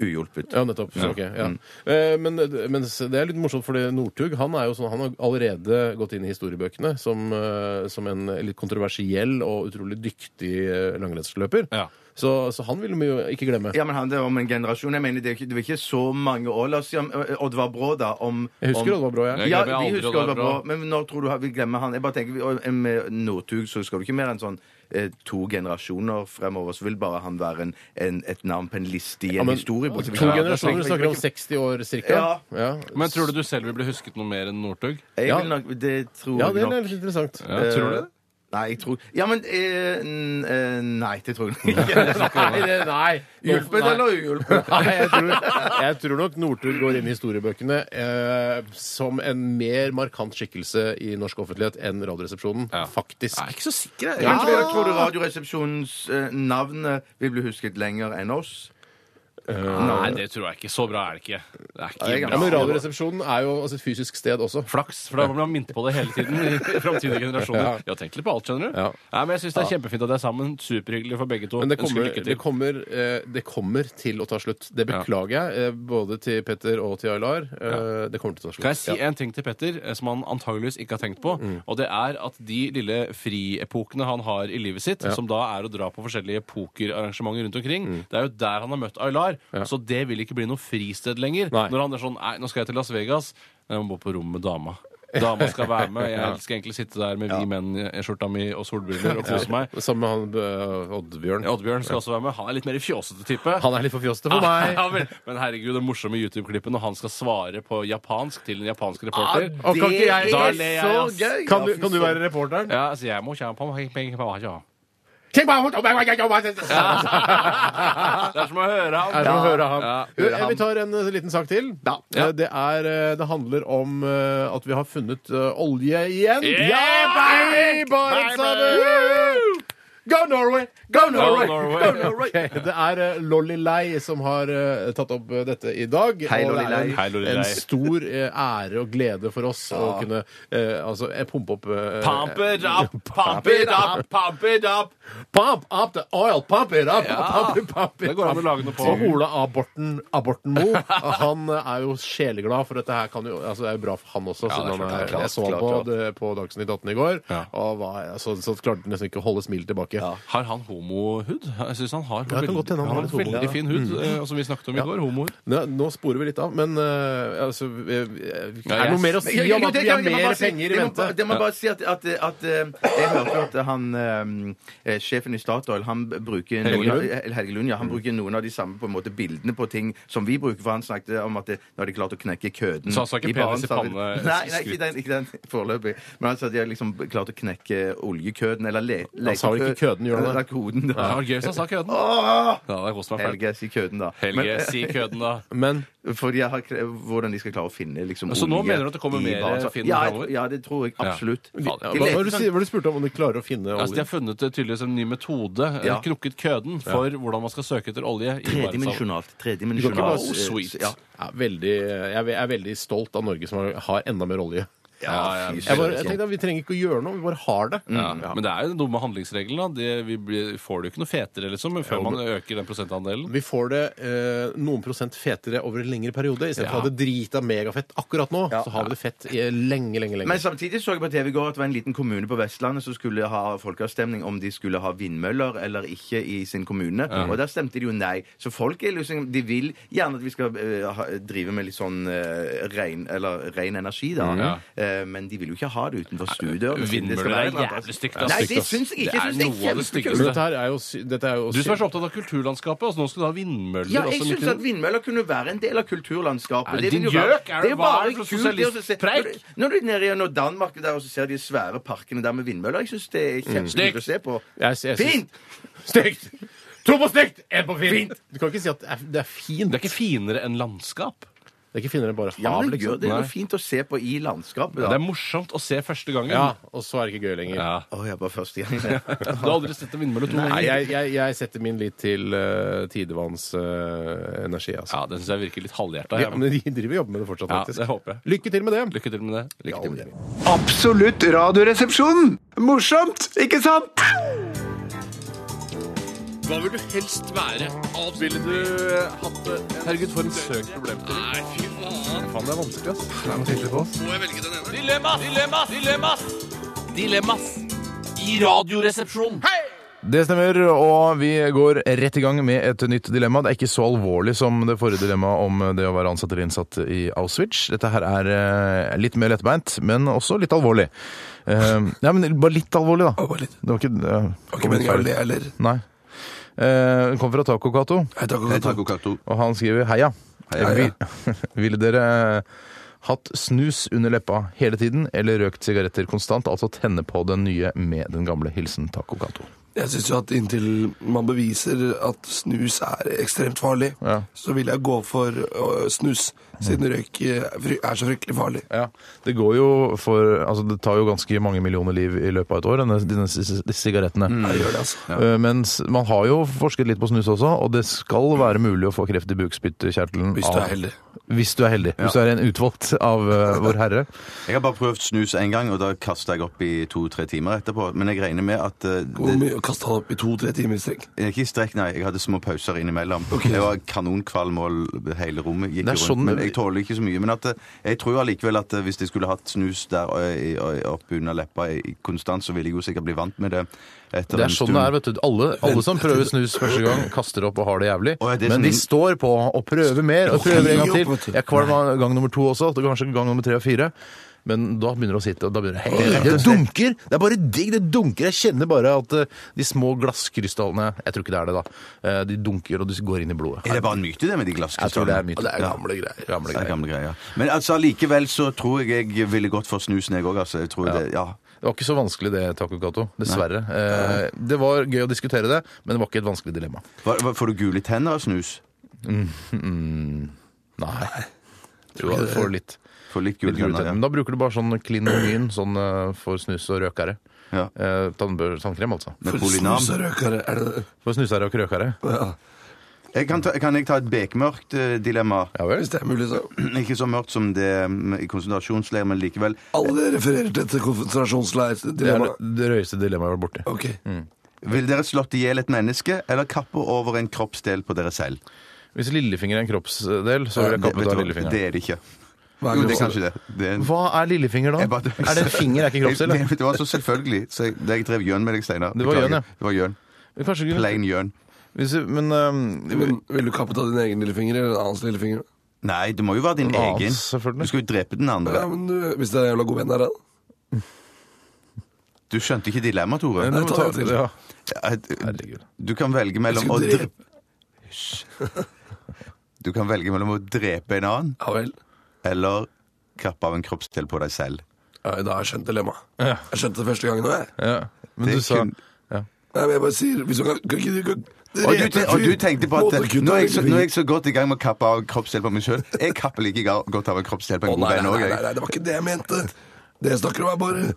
[SPEAKER 5] uhjulpet.
[SPEAKER 3] Ja, nettopp.
[SPEAKER 5] Ja.
[SPEAKER 3] Ok, ja.
[SPEAKER 5] Mm.
[SPEAKER 3] Eh, Men, men det er litt morsomt, for Northug han er jo sånn, han har allerede gått inn i historiebøkene som, eh, som en litt kontroversiell og utrolig dyktig eh, langrennsløper. Så, så han vil vi jo ikke glemme.
[SPEAKER 5] Ja, men han, det er om en generasjon. Jeg mener, Det er ikke, det er ikke så mange år. La oss si om ø, Oddvar Brå, da. Om,
[SPEAKER 3] Jeg husker
[SPEAKER 5] om-
[SPEAKER 3] Oddvar Brå, jeg. Jeg
[SPEAKER 5] Ja, vi
[SPEAKER 3] glemmer aldri
[SPEAKER 5] husker
[SPEAKER 3] Oddvar
[SPEAKER 5] Oddvar Brå.
[SPEAKER 3] Brå.
[SPEAKER 5] Men når tror du vi glemmer han? Jeg bare tenker, vi- og eh, Med Northug så skal du ikke mer enn sånn eh, to generasjoner fremover, så vil bare han være en, en, et navn på en liste i en historiebok.
[SPEAKER 3] to generasjoner snakker om 60 år cirka.
[SPEAKER 5] Ja.
[SPEAKER 8] Men tror du du selv vil bli husket noe mer enn Northug?
[SPEAKER 3] Eh,
[SPEAKER 5] Jeg vil nok, det tror
[SPEAKER 8] Ja,
[SPEAKER 5] jeg
[SPEAKER 8] det er
[SPEAKER 5] nok.
[SPEAKER 8] litt interessant. Ja,
[SPEAKER 5] Eh,
[SPEAKER 8] tror du det?
[SPEAKER 5] Nei, jeg tror Ja, men eh, n- eh, Nei, det tror jeg nok ikke.
[SPEAKER 3] Nei, det- nei.
[SPEAKER 5] Hjulpet
[SPEAKER 3] Nei.
[SPEAKER 5] eller uhjulpet?
[SPEAKER 3] Nei, jeg tror, jeg tror nok Northug går inn i historiebøkene eh, som en mer markant skikkelse i norsk offentlighet enn Radioresepsjonen, faktisk. Jeg er
[SPEAKER 8] ikke så sikker,
[SPEAKER 5] Men tror, du- tror du Radioresepsjonens eh, navn eh, vil bli husket lenger enn oss?
[SPEAKER 8] Nei, det tror jeg ikke. Så bra er det ikke. Det er ikke
[SPEAKER 3] Ja,
[SPEAKER 8] bra.
[SPEAKER 3] men Radioresepsjonen er jo altså, et fysisk sted også.
[SPEAKER 8] Flaks, for da må man minne på det hele tiden i framtidige generasjoner.
[SPEAKER 3] Ja.
[SPEAKER 8] Jeg har tenkt litt på alt, skjønner du. Nei, men jeg syns det er kjempefint at det er sammen. Superhyggelig for begge to.
[SPEAKER 3] Men det
[SPEAKER 8] Ønsker
[SPEAKER 3] kommer,
[SPEAKER 8] lykke til.
[SPEAKER 3] det, kommer, eh, det kommer til å ta slutt. Det beklager jeg, eh, både til Petter og til Aylar. Eh, Det kommer til å ta slutt.
[SPEAKER 8] Kan jeg si
[SPEAKER 3] Ja. Mm.
[SPEAKER 8] en ting til Petter eh, som han antageligvis ikke har tenkt på? Og det er at de lille friepokene han har i livet sitt,
[SPEAKER 3] Ja. Mm.
[SPEAKER 8] som da er å dra på forskjellige pokerarrangementer rundt omkring, det er jo der han har møtt Aylar. Så det vil ikke bli noe fristed lenger. Når han er sånn Nei, nå skal jeg til Las Vegas. Jeg må bo på rom med dama. dama skal være med. Jeg
[SPEAKER 3] Ja.
[SPEAKER 8] skal egentlig sitte der med vi menn-skjorta mi og solbriller og kose meg.
[SPEAKER 3] Sammen med han eh, Oddbjørn.
[SPEAKER 8] Oddbjørn skal også være med. Han er litt mer fjåsete type.
[SPEAKER 3] Han er litt for fjåsete for meg.
[SPEAKER 8] Ja, vel. Men herregud, det morsomme YouTube-klippet når han skal svare på japansk til en japansk reporter
[SPEAKER 3] Ah, og kan ikke jeg-
[SPEAKER 8] Da
[SPEAKER 3] det er
[SPEAKER 8] ler jeg,
[SPEAKER 3] så
[SPEAKER 8] ass.
[SPEAKER 3] gøy. Kan du- kan du være
[SPEAKER 8] reporteren? Ja, altså, jeg må kjempe om penger på ja. Det er som å høre ham.
[SPEAKER 3] Er det å høre ham.
[SPEAKER 8] Ja.
[SPEAKER 3] Jo, eh, Vi tar en eh, liten sak til. Eh, Det, er, eh, det handler om eh, at vi har funnet eh, olje igjen.
[SPEAKER 13] Yeah,
[SPEAKER 3] baby!
[SPEAKER 13] baby!
[SPEAKER 3] Bare sammen!
[SPEAKER 13] Woo!
[SPEAKER 3] Go Norway!
[SPEAKER 13] Go Norway! Go Norway!
[SPEAKER 3] Ok, Det er eh, Lolly Lei som har eh, tatt opp eh, dette i dag.
[SPEAKER 8] Hei,
[SPEAKER 3] og det
[SPEAKER 8] Lolly
[SPEAKER 3] er en-
[SPEAKER 8] Lei. Hei, Lolly Lei.
[SPEAKER 3] En stor eh, ære og glede for oss å kunne eh, altså, eh, pumpe opp eh,
[SPEAKER 8] Pump it up, pump it up, pump it up.
[SPEAKER 3] Pump up the oil, pump it up!
[SPEAKER 8] Ja.
[SPEAKER 3] Pump it, pump it,
[SPEAKER 8] Det går an å lage noe på.
[SPEAKER 3] Og Ola Aborten, Aborten Mo, han er jo sjeleglad for dette her. Kan jo, altså, det er jo bra for han også,
[SPEAKER 8] Ja, det er
[SPEAKER 3] siden han
[SPEAKER 8] klart,
[SPEAKER 3] er,
[SPEAKER 8] klart,
[SPEAKER 3] jeg så han
[SPEAKER 8] klart,
[SPEAKER 3] på,
[SPEAKER 8] klart.
[SPEAKER 3] det- på Dagsnytt 18 i går, og var, altså, så klarte han nesten ikke å holde smilet tilbake.
[SPEAKER 8] Har han homohud? Jeg syns han har
[SPEAKER 3] Ja, det kan godt hende han har
[SPEAKER 8] han har
[SPEAKER 3] litt homohud, ja.
[SPEAKER 8] veldig fin hud,
[SPEAKER 3] Mm.
[SPEAKER 8] eh, som vi snakket om i
[SPEAKER 3] Ja.
[SPEAKER 8] går. Homohud.
[SPEAKER 3] Nå, nå sporer vi litt av, men eh, altså, eh, er
[SPEAKER 8] Ja,
[SPEAKER 3] det
[SPEAKER 8] jeg-
[SPEAKER 3] noe mer å si
[SPEAKER 5] Jeg- jeg-
[SPEAKER 3] om at
[SPEAKER 5] det-
[SPEAKER 3] vi har
[SPEAKER 5] det- det må bare
[SPEAKER 3] mer
[SPEAKER 5] si-
[SPEAKER 3] penger i
[SPEAKER 5] det må
[SPEAKER 3] vente?
[SPEAKER 5] bare- Det må bare si at, at, at eh, Jeg hørte jo at han eh, eh, sjefen i Statoil han b- bruker noen,
[SPEAKER 3] Helge Lund? Mm.
[SPEAKER 5] av- eh, Helge Lund, ja, han bruker noen av de samme på en måte bildene på ting som vi bruker. For han snakket om at det, nå har de klart å knekke køden
[SPEAKER 8] Så han sa ikke
[SPEAKER 5] i
[SPEAKER 8] penis i
[SPEAKER 5] Barentshavet. Nei,
[SPEAKER 8] panne-
[SPEAKER 5] nei ikke,
[SPEAKER 8] skritt?
[SPEAKER 5] den, ikke den foreløpig. Men han sa at de har liksom klart å knekke oljekøden. Eller le,
[SPEAKER 3] Han sa vel ikke køden, gjorde han det?
[SPEAKER 5] Eller koden, da.
[SPEAKER 8] Ja, det var gøy hvis han sa køden.
[SPEAKER 5] Åh!
[SPEAKER 8] Ja, det koste meg fælt.
[SPEAKER 5] Helge, si køden, da.
[SPEAKER 8] Helge, si køden, da.
[SPEAKER 3] Men
[SPEAKER 5] Fordi jeg har kre- hvordan de skal klare å finne liksom,
[SPEAKER 8] Så nå
[SPEAKER 5] olje
[SPEAKER 8] mener du at det kommer
[SPEAKER 5] i
[SPEAKER 8] mer
[SPEAKER 5] Barentshavet?
[SPEAKER 8] Finn
[SPEAKER 5] ja, jeg-
[SPEAKER 8] fremover?
[SPEAKER 5] Ja, det tror jeg absolutt.
[SPEAKER 8] Ja. Faen, ja.
[SPEAKER 5] De
[SPEAKER 3] Hva
[SPEAKER 5] leter
[SPEAKER 3] var det du,
[SPEAKER 5] sånn-
[SPEAKER 3] si- hva var det du spurte om, om de klarer å finne
[SPEAKER 8] Altså, de
[SPEAKER 3] olje?
[SPEAKER 8] har funnet eh, tydeligvis en ny metode. eh,
[SPEAKER 5] Ja.
[SPEAKER 8] Knukket køden for hvordan man skal søke etter olje. i
[SPEAKER 5] Tredimensjonalt.
[SPEAKER 3] Du kan ikke bare-
[SPEAKER 5] Tredimensjonalt. eh,
[SPEAKER 8] Oh, sweet.
[SPEAKER 3] Ja. Jeg er veldig, eh, jeg er veldig stolt av Norge som har- har enda mer olje.
[SPEAKER 8] Ja, ja,
[SPEAKER 3] jeg, bare, jeg tenkte at Vi trenger ikke å gjøre noe, vi bare har det.
[SPEAKER 8] Ja, Men det er jo noe med handlingsregelen. da. Det, vi blir, får det jo ikke noe fetere liksom, før
[SPEAKER 3] Jo,
[SPEAKER 8] man øker den prosentandelen.
[SPEAKER 3] Vi får det eh, noen prosent fetere over en lengre periode. Istedenfor for
[SPEAKER 8] Ja.
[SPEAKER 3] å ha det drita megafett akkurat nå, så har vi det fett i lenge, lenge, lenge.
[SPEAKER 5] Men samtidig så jeg på TV i går at det var en liten kommune på Vestlandet som skulle ha folkeavstemning om de skulle ha vindmøller eller ikke i sin kommune.
[SPEAKER 8] Ja.
[SPEAKER 5] Og der stemte de jo nei. Så folk er liksom, de vil gjerne at vi skal eh, ha, drive med litt sånn eh, ren, eller, ren energi, da.
[SPEAKER 8] Mm, Ja.
[SPEAKER 5] Eh, men de vil jo ikke ha det utenfor stuedøren. siden det skal
[SPEAKER 8] Vindmøller er
[SPEAKER 5] være annet.
[SPEAKER 8] jævlig stygt. ass.
[SPEAKER 5] Nei, det syns jeg ikke. Jeg
[SPEAKER 8] Det er
[SPEAKER 5] synes
[SPEAKER 8] noe av
[SPEAKER 5] det er
[SPEAKER 8] det styggeste.
[SPEAKER 5] kjempekult.
[SPEAKER 3] dette her er jo, sy- dette er jo
[SPEAKER 8] Du som er så opptatt av kulturlandskapet, altså, nå skal du ha vindmøller.
[SPEAKER 5] Ja, jeg
[SPEAKER 8] også,
[SPEAKER 5] syns
[SPEAKER 8] midt i-
[SPEAKER 5] at vindmøller kunne være en del av kulturlandskapet.
[SPEAKER 8] Er det
[SPEAKER 5] vil
[SPEAKER 8] din
[SPEAKER 5] jo være-
[SPEAKER 8] gjøk? Er
[SPEAKER 5] det er
[SPEAKER 8] det-
[SPEAKER 5] jo
[SPEAKER 8] hva er
[SPEAKER 5] bare
[SPEAKER 8] det for
[SPEAKER 5] kult det å se-
[SPEAKER 8] sosialistisk preik?
[SPEAKER 5] Når du- Når du er nede i når Danmark der, og så ser de svære parkene der med vindmøller, jeg syns det er
[SPEAKER 8] Mm.
[SPEAKER 3] Stygt.
[SPEAKER 5] kjempekult å se på.
[SPEAKER 3] Jeg- jeg syns-
[SPEAKER 5] Fint!
[SPEAKER 3] Stygt! To på stygt, én på fint! Du kan ikke si at det er, det er fint.
[SPEAKER 8] Det er ikke finere enn landskap.
[SPEAKER 3] Det er ikke finere enn bare
[SPEAKER 5] Ja,
[SPEAKER 3] hav,
[SPEAKER 5] men det, gjør,
[SPEAKER 3] liksom.
[SPEAKER 5] det er jo
[SPEAKER 3] Nei.
[SPEAKER 5] fint å se på i landskapet.
[SPEAKER 8] Det
[SPEAKER 5] Da.
[SPEAKER 8] er morsomt å se første gangen.
[SPEAKER 3] Ja, og så er det ikke gøy lenger.
[SPEAKER 8] Ja.
[SPEAKER 5] Å, jeg var første gang.
[SPEAKER 8] Du har aldri sett en vindmølle to
[SPEAKER 3] Nei,
[SPEAKER 8] ganger.
[SPEAKER 3] jeg, jeg, jeg setter min lit til uh, tidevannsenergi, altså.
[SPEAKER 8] Ja, Den syns jeg virker litt halvhjerta.
[SPEAKER 3] Ja, men de driver og jobber med det fortsatt,
[SPEAKER 8] Ja,
[SPEAKER 3] faktisk.
[SPEAKER 8] det håper jeg.
[SPEAKER 3] Lykke til med det.
[SPEAKER 8] Lykke til med det. Lykke til med det.
[SPEAKER 7] Absolutt radioresepsjon! Morsomt, ikke sant?
[SPEAKER 8] Hva vil du helst være? Ville du eh, hatt det? Herregud, for en søk problemstilling. Nei, fy faen.
[SPEAKER 3] Faen, det er vanskelig, ass.
[SPEAKER 8] Må jeg velge den ene? Dilemmas! Dilemmas! Dilemmas! Dilemmas i Radioresepsjonen. Hei!
[SPEAKER 15] Det stemmer, og vi går rett i gang med et nytt dilemma. Det er ikke så alvorlig som det forrige dilemmaet om det å være ansatt eller innsatt i Auschwitz. Dette her er eh, litt mer lettbeint, men også litt alvorlig. Eh, ja, men bare litt alvorlig, da. Det var ikke uh,
[SPEAKER 1] Ok, men jeg le, eller?
[SPEAKER 15] Nei. Eh, Den kom fra Taco Kato. Hei, Taco Kato. Og han skriver heia.
[SPEAKER 1] Heia,
[SPEAKER 15] Vi- Ville dere hatt snus under leppa hele tiden, eller røkt sigaretter konstant? Altså tenne på den nye med den gamle. Hilsen Taco Kato.
[SPEAKER 1] Jeg syns jo at inntil man beviser at snus er ekstremt farlig, så vil jeg gå for øh, snus, siden røyk øh, er fry- er så fryktelig farlig.
[SPEAKER 15] Ja, det går jo for Altså, det tar jo ganske mange millioner liv i løpet av et år, denne, denne, si- disse sigarettene.
[SPEAKER 1] Ja, det gjør det, altså.
[SPEAKER 15] Eh, Mens man har jo forsket litt på snus også, og det skal være mulig å få kreft i
[SPEAKER 3] Mm.
[SPEAKER 15] bukspyttkjertelen.
[SPEAKER 5] Hvis du
[SPEAKER 3] Ah.
[SPEAKER 15] av-
[SPEAKER 5] er heldig.
[SPEAKER 15] Hvis du er heldig. Hvis du er en utvalgt av eh, Vår Herre.
[SPEAKER 5] Jeg har bare prøvd snus én gang, og da kasta jeg opp i to-tre timer etterpå. Men jeg regner med at eh,
[SPEAKER 1] Hvor mye kasta han opp i to-tre timer i strekk?
[SPEAKER 5] Ikke i strekk, nei. Jeg hadde små pauser innimellom. Jeg var kanonkvalm og hele rommet gikk
[SPEAKER 15] Det er
[SPEAKER 5] rundt.
[SPEAKER 15] sånn-
[SPEAKER 5] Men jeg tåler ikke så mye. Men at, eh, jeg tror allikevel at eh, hvis jeg skulle hatt snus der eh, i- og- opp under leppa i- konstant, så ville jeg jo sikkert bli vant med det. Etter
[SPEAKER 15] Det er
[SPEAKER 5] en
[SPEAKER 15] sånn
[SPEAKER 5] stund.
[SPEAKER 15] det er, vet du. Alle, alle som prøver snus første gang, kaster opp og har det jævlig. Men de står på og prøver mer og prøver en gang til. Jeg kvalm av gang nummer to også, og kanskje gang nummer tre og fire.
[SPEAKER 3] Men da begynner det å sitte, og da begynner det
[SPEAKER 15] Hei, Det dunker! Det er bare digg. Det dunker. Jeg kjenner bare at eh, de små glasskrystallene Jeg tror ikke det er det, da. Eh, De dunker, og du går inn i blodet.
[SPEAKER 5] Er det bare en myte, det med de
[SPEAKER 15] Jeg tror det er
[SPEAKER 5] glasskrystallene?
[SPEAKER 15] myte.
[SPEAKER 5] greier. Det er gamle greier. Men altså, likevel så tror jeg jeg ville gått for snusen, jeg òg. Altså. Jeg tror det, ja.
[SPEAKER 3] Det var ikke så vanskelig det, Taco Kato. Dessverre. Eh, Det var gøy å diskutere det, men det var ikke et vanskelig dilemma.
[SPEAKER 5] Hva, hva, får du gule tenner av snus?
[SPEAKER 3] Nei.
[SPEAKER 5] Tror ikke
[SPEAKER 3] Du
[SPEAKER 5] det.
[SPEAKER 3] får litt.
[SPEAKER 5] Får litt gule tenner, ja.
[SPEAKER 3] Men da bruker du bare sånn klin og myn sånn eh, for snus og røkere. Eh, tannbør- tannkrem, altså.
[SPEAKER 5] Med For Polinam. snus og
[SPEAKER 1] røkere, er det
[SPEAKER 3] For snusere og røkere.
[SPEAKER 5] Jeg kan, ta, kan jeg ta et bekmørkt eh, dilemma?
[SPEAKER 3] Ja
[SPEAKER 1] Hvis det er mulig, så.
[SPEAKER 5] Ikke så mørkt som det mm, i konsentrasjonsleir, men likevel.
[SPEAKER 1] Alle refererer til dette konsentrasjonsleir-dilemmaet.
[SPEAKER 3] det røyeste dilemmaet jeg var borti.
[SPEAKER 1] Ok.
[SPEAKER 5] Mm. Vil dere slått i hjel et menneske, eller kappe over en kroppsdel på dere selv?
[SPEAKER 3] Hvis lillefinger er en kroppsdel, så vil jeg kappe
[SPEAKER 5] vet
[SPEAKER 3] ut
[SPEAKER 5] du
[SPEAKER 3] av
[SPEAKER 5] hva,
[SPEAKER 3] lillefingeren.
[SPEAKER 5] Det er det ikke.
[SPEAKER 3] Hva
[SPEAKER 5] jo, det er
[SPEAKER 3] er kroppsdel?
[SPEAKER 5] kanskje det. det er en...
[SPEAKER 3] Hva er lillefinger, da? Er det en finger, er ikke kroppsdel?
[SPEAKER 5] Det, vet du hva, så selvfølgelig. Så jeg, jeg drev gjøn med deg, Steinar.
[SPEAKER 3] Det var gjøn,
[SPEAKER 5] Beklager.
[SPEAKER 3] ja.
[SPEAKER 5] Det var gjøn. Plain gjøn.
[SPEAKER 3] Hvis, men, ehm,
[SPEAKER 1] Vil du kappe av din egen lillefinger eller en annens lillefinger?
[SPEAKER 5] Nei, det må jo være din
[SPEAKER 1] En
[SPEAKER 3] Ah,
[SPEAKER 1] annen,
[SPEAKER 5] egen.
[SPEAKER 1] selvfølgelig.
[SPEAKER 5] Du skal jo drepe den andre.
[SPEAKER 1] Ja, men du, Hvis det er en jævla god venn der, da?
[SPEAKER 5] Du skjønte ikke dilemmaet, Tore?
[SPEAKER 1] Nei, nå må vi ta det til.
[SPEAKER 5] Ja. Et- Du kan velge mellom å
[SPEAKER 1] Jeg skal
[SPEAKER 5] drepe Hysj. Du kan velge mellom å drepe en annen eller kappe av en kroppsdel på deg selv.
[SPEAKER 1] Ja, da har jeg skjønt dilemmaet.
[SPEAKER 3] Ja.
[SPEAKER 1] Jeg skjønte det første gangen òg, jeg.
[SPEAKER 3] Men
[SPEAKER 5] Det
[SPEAKER 3] du sa
[SPEAKER 5] kun-
[SPEAKER 3] ja.
[SPEAKER 1] Nei, men jeg bare sier hvis du kan, kan ikke du kan,
[SPEAKER 5] Og du, te- og du tenkte på at
[SPEAKER 1] Måte å kutte
[SPEAKER 5] nå er, jeg så,
[SPEAKER 1] lillefinger.
[SPEAKER 5] nå er jeg så godt i gang med å kappe av kroppsdel på meg sjøl. Jeg kapper like ga- godt av en kroppsdel på en
[SPEAKER 1] Å,
[SPEAKER 5] god
[SPEAKER 1] nei,
[SPEAKER 5] venn
[SPEAKER 1] nei,
[SPEAKER 5] òg,
[SPEAKER 1] nei, nei,
[SPEAKER 5] jeg.
[SPEAKER 1] det var ikke det jeg mente. Det jeg snakker om, er bare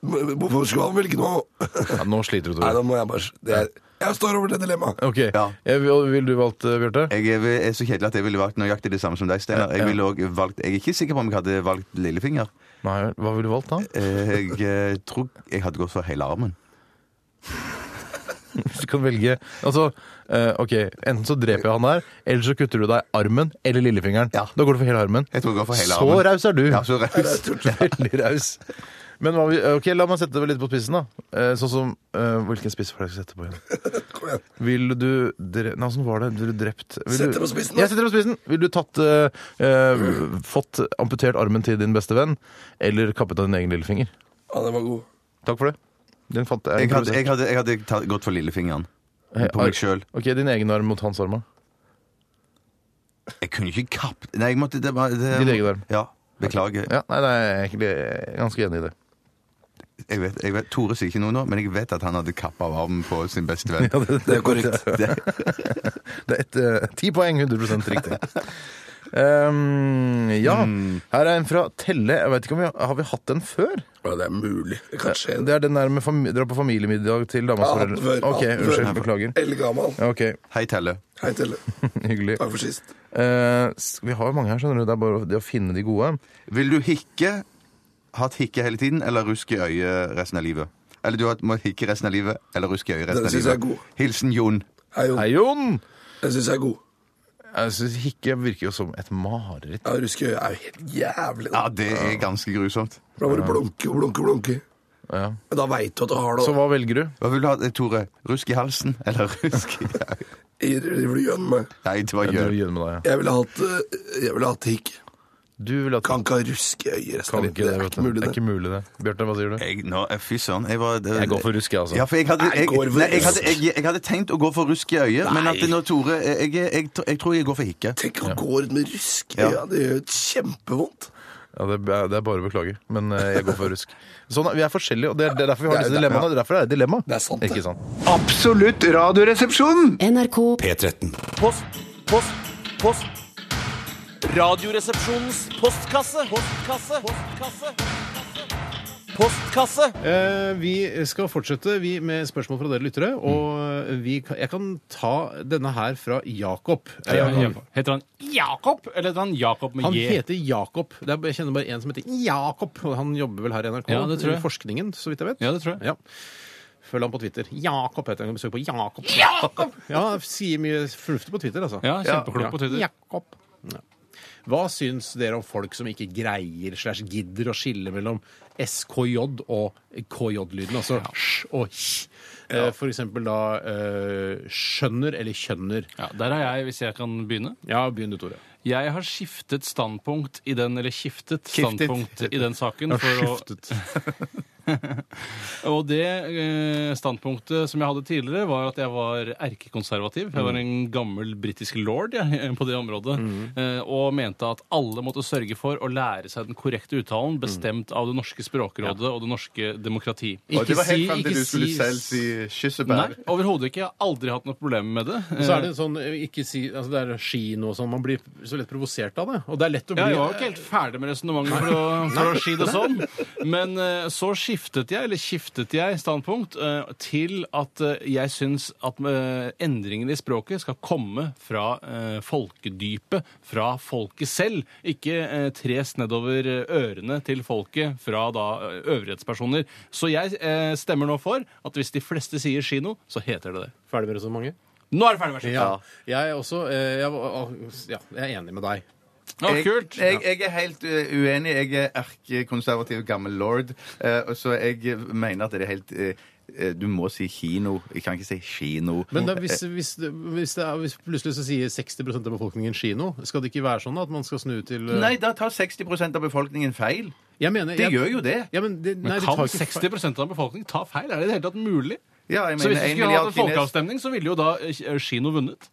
[SPEAKER 1] Hvorfor skulle han velge noe?
[SPEAKER 3] ja, Nå sliter du,
[SPEAKER 1] Nei,
[SPEAKER 3] Tore.
[SPEAKER 1] nå må jeg bare det er, Jeg står over det dilemmaet.
[SPEAKER 3] Ok, jeg, vil, vil du valgt eh, Bjarte?
[SPEAKER 5] Jeg er, er så kjedelig at jeg ville valgt nøyaktig det samme som deg, Steinar. Jeg, ville også valgt- jeg er ikke sikker på om jeg hadde valgt lillefinger.
[SPEAKER 3] Nei, Hva ville du valgt da?
[SPEAKER 5] Jeg eh, tror jeg hadde gått for hele armen.
[SPEAKER 3] Hvis du kan velge Altså, eh, ok, enten så dreper jeg han der, eller så kutter du deg armen eller lillefingeren. Da går du for hele armen.
[SPEAKER 5] Jeg tror jeg går for hele
[SPEAKER 3] så
[SPEAKER 5] armen.
[SPEAKER 3] raus er du.
[SPEAKER 5] Ja, så raus.
[SPEAKER 3] Veldig raus. Men hva vi, ok, la meg sette det litt på spissen, da. Eh, Sånn som eh, Hvilken spiss var det jeg skulle sette på igjen? Vil du dre... Nei, åssen var det? Ville du drept vil
[SPEAKER 1] Sett det
[SPEAKER 3] du...
[SPEAKER 1] på spissen, da.
[SPEAKER 3] Jeg setter det på spissen. Vil du tatt eh, eh, Fått amputert armen til din beste venn, eller kappet av din egen lillefinger?
[SPEAKER 1] Ja, den var god.
[SPEAKER 3] Takk for det. Den fant jeg.
[SPEAKER 5] Jeg hadde, jeg hadde, jeg hadde ta- gått for lillefingeren. På meg sjøl.
[SPEAKER 3] Ok, din egen arm mot hans arm. da.
[SPEAKER 5] Jeg kunne ikke kappe Nei, jeg måtte det, var- det,
[SPEAKER 3] Din egen arm.
[SPEAKER 5] Ja, Beklager.
[SPEAKER 3] Ja, nei, nei, jeg er egentlig ganske enig i det.
[SPEAKER 5] Jeg vet, jeg vet, Tore sier ikke noe nå, men jeg vet at han hadde kappa av armen på sin beste venn.
[SPEAKER 3] Ja, det-
[SPEAKER 5] Det,
[SPEAKER 3] Det er et, eh, 10 poeng, 100 riktig. Ehm, ja, her er en fra Telle. Jeg vet ikke om vi har, har vi hatt den før?
[SPEAKER 1] Ja, det er mulig. Kanskje.
[SPEAKER 3] Det er den der med fami dra på familiemiddag til damas
[SPEAKER 1] Jeg har hatt den
[SPEAKER 3] foreldre.
[SPEAKER 1] før.
[SPEAKER 3] Ok,
[SPEAKER 1] Jeg har hatt den før.
[SPEAKER 3] unnskyld, beklager.
[SPEAKER 1] Eldgammel.
[SPEAKER 3] Ja, ok.
[SPEAKER 5] Hei, Telle.
[SPEAKER 1] Hei, Telle.
[SPEAKER 3] Hyggelig.
[SPEAKER 1] Takk for sist.
[SPEAKER 3] Eh, s- vi har jo mange her, skjønner du. Det er bare det å finne de gode.
[SPEAKER 5] Vil du hikke, hatt hikke hele tiden, eller rusk i øyet resten av livet? Eller du har- må hikke resten av livet, eller rusk i øyet
[SPEAKER 1] Den
[SPEAKER 5] resten av livet.
[SPEAKER 1] synes jeg er god.
[SPEAKER 5] Hilsen Jon.
[SPEAKER 1] Hei, Jon.
[SPEAKER 3] Hei, Jon!
[SPEAKER 1] Jeg syns jeg er god.
[SPEAKER 3] Jeg synes Hikke virker jo som et mareritt.
[SPEAKER 1] Ja, Ruskøy er jo helt jævlig.
[SPEAKER 5] Ja, det er ganske grusomt.
[SPEAKER 1] Da må du blunke og blunke og blunke.
[SPEAKER 3] Ja.
[SPEAKER 1] Da veit du at du har det.
[SPEAKER 3] Så hva velger du?
[SPEAKER 5] Hva vil du ha, Tore? Rusk i halsen, eller rusk i øyet?
[SPEAKER 1] Jeg driver og gjør meg.
[SPEAKER 5] Nei, det var
[SPEAKER 3] Jeg driver og
[SPEAKER 5] gjør.
[SPEAKER 3] gjør med deg, ja.
[SPEAKER 1] Jeg ville hatt, eh, jeg ville hatt hikk.
[SPEAKER 3] Du vil at
[SPEAKER 1] Kan ikke ha ruske i øyet resten
[SPEAKER 3] Kan
[SPEAKER 1] av livet.
[SPEAKER 3] ikke
[SPEAKER 1] Det er
[SPEAKER 3] vet
[SPEAKER 1] ikke
[SPEAKER 3] du.
[SPEAKER 1] mulig,
[SPEAKER 3] Det er
[SPEAKER 1] det.
[SPEAKER 3] ikke mulig, det. Bjarte, hva sier du?
[SPEAKER 5] Jeg, nå, eh, fy søren. Jeg, var, det,
[SPEAKER 3] Jeg går for rusk, jeg, altså.
[SPEAKER 5] Ja, for jeg hadde, jeg,
[SPEAKER 3] Jeg går for
[SPEAKER 5] nei, jeg,
[SPEAKER 3] rusk.
[SPEAKER 5] hadde, jeg, jeg hadde tenkt å gå for rusk i øyet, men
[SPEAKER 1] Nei.
[SPEAKER 5] at nå, Tore eh, jeg, jeg, jeg, tr- jeg tror jeg går for hikke.
[SPEAKER 1] Tenk å gå rundt med ruske i
[SPEAKER 5] Ja.
[SPEAKER 1] øyet. Det gjør kjempevondt.
[SPEAKER 3] Ja, det, er- det er bare å beklage, men eh, jeg går for rusk. Sånn, Vi er forskjellige, og det er, det er derfor vi har
[SPEAKER 1] Det er-
[SPEAKER 3] disse dilemmaene.
[SPEAKER 1] ja.
[SPEAKER 3] Det er derfor det er et dilemma.
[SPEAKER 1] Det er sant, det.
[SPEAKER 3] Ikke sant?
[SPEAKER 7] Absolutt radioresepsjon!
[SPEAKER 16] NRK
[SPEAKER 2] P13.
[SPEAKER 13] Post, post, post. Radioresepsjonens postkasse. Postkasse. Postkasse. Postkasse.
[SPEAKER 8] Eh, vi skal fortsette vi med spørsmål fra dere lyttere. Og vi, kan- jeg kan ta denne her fra Jakob.
[SPEAKER 3] Ja,
[SPEAKER 8] Eh,
[SPEAKER 3] Jakob.
[SPEAKER 8] Heter han Jakob, eller heter han Jakob med
[SPEAKER 3] Han
[SPEAKER 8] J?
[SPEAKER 3] heter Jakob. Det er, jeg kjenner bare en som heter Jakob, og han jobber vel her i NRK.
[SPEAKER 8] Ja, det tror jeg.
[SPEAKER 3] I forskningen, så vidt jeg vet. Ja, det tror jeg. Følg ham på Twitter. Jakob heter han. Besøk på Jakob. Ja, sier mye fornuftig på Twitter, altså.
[SPEAKER 8] Ja, kjempeklok på Twitter.
[SPEAKER 3] Jakob. Ja.
[SPEAKER 9] Hva syns dere om folk som ikke greier slash gidder å skille mellom SKJ og KJ-lyden, altså sj og hj? Eh, For eksempel da eh, skjønner eller kjønner.
[SPEAKER 8] Ja, der er jeg, hvis jeg kan begynne.
[SPEAKER 9] Ja, begynn du, Tore.
[SPEAKER 8] Jeg har skiftet standpunkt i den, eller skiftet
[SPEAKER 9] Skiftet.
[SPEAKER 8] standpunkt i den saken.
[SPEAKER 9] Ja,
[SPEAKER 8] For å, og det eh, standpunktet som jeg hadde tidligere, var at jeg var erkekonservativ. Jeg
[SPEAKER 9] Mm.
[SPEAKER 8] var en gammel britisk lord jeg, på det området. eh, og mente at alle måtte sørge for å lære seg den korrekte
[SPEAKER 9] Mm.
[SPEAKER 8] uttalen, bestemt av det norske språkrådet og det norske demokrati.
[SPEAKER 5] Og det var helt frem til
[SPEAKER 8] ikke
[SPEAKER 5] du skulle
[SPEAKER 8] si-
[SPEAKER 5] selv si
[SPEAKER 8] Nei,
[SPEAKER 5] kyssebær.
[SPEAKER 8] overhodet ikke. Jeg har aldri hatt noe problem med det.
[SPEAKER 16] Og så er det sånn, eh, ikke si, altså det er skien og sånn, man blir så lett provosert av det. Og det er lett å
[SPEAKER 8] Ja,
[SPEAKER 16] bli
[SPEAKER 8] jeg var jo ikke helt ferdig med resonnementet for, å- for å si det sånn. Men eh, så skiftet jeg, eller skiftet jeg standpunkt eh, til at eh, jeg syns at eh, endringene i språket skal komme fra eh, folkedypet, fra folket selv. Ikke eh, tres nedover eh, ørene til folket fra da eh, øvrighetspersoner. Så jeg eh, stemmer nå for at hvis de fleste sier kino, så heter det det.
[SPEAKER 16] Ferdig med resonnementet?
[SPEAKER 8] Nå er det ferdig, vær så
[SPEAKER 16] Ja.
[SPEAKER 8] god.
[SPEAKER 16] Jeg er også eh, jeg, var- ja, jeg er enig med deg.
[SPEAKER 5] Jeg, jeg, jeg er helt eh, uenig. Jeg er erkekonservativ gammel lord. eh, og så jeg mener at det er helt eh, eh, Du må si kino. Jeg kan ikke si kino.
[SPEAKER 16] Men da, hvis,
[SPEAKER 5] Eh,
[SPEAKER 16] hvis, det- hvis, det er, hvis plutselig så sier 60 av befolkningen kino, skal det ikke være sånn da, at man skal snu til eh,
[SPEAKER 5] Nei, da tar 60 av befolkningen feil.
[SPEAKER 16] Jeg mener,
[SPEAKER 5] det
[SPEAKER 16] jeg-
[SPEAKER 5] gjør jo det.
[SPEAKER 16] Ja, men det-
[SPEAKER 8] Men
[SPEAKER 16] nei, det tar
[SPEAKER 8] kan
[SPEAKER 16] ikke feil.
[SPEAKER 8] 60 av befolkningen ta feil? Er det i det hele tatt mulig?
[SPEAKER 5] Ja, jeg
[SPEAKER 8] så
[SPEAKER 5] mener
[SPEAKER 8] hvis vi
[SPEAKER 5] en
[SPEAKER 8] skulle hatt en
[SPEAKER 5] milliard kines-
[SPEAKER 8] folkeavstemning, så ville jo da eh, Kino vunnet.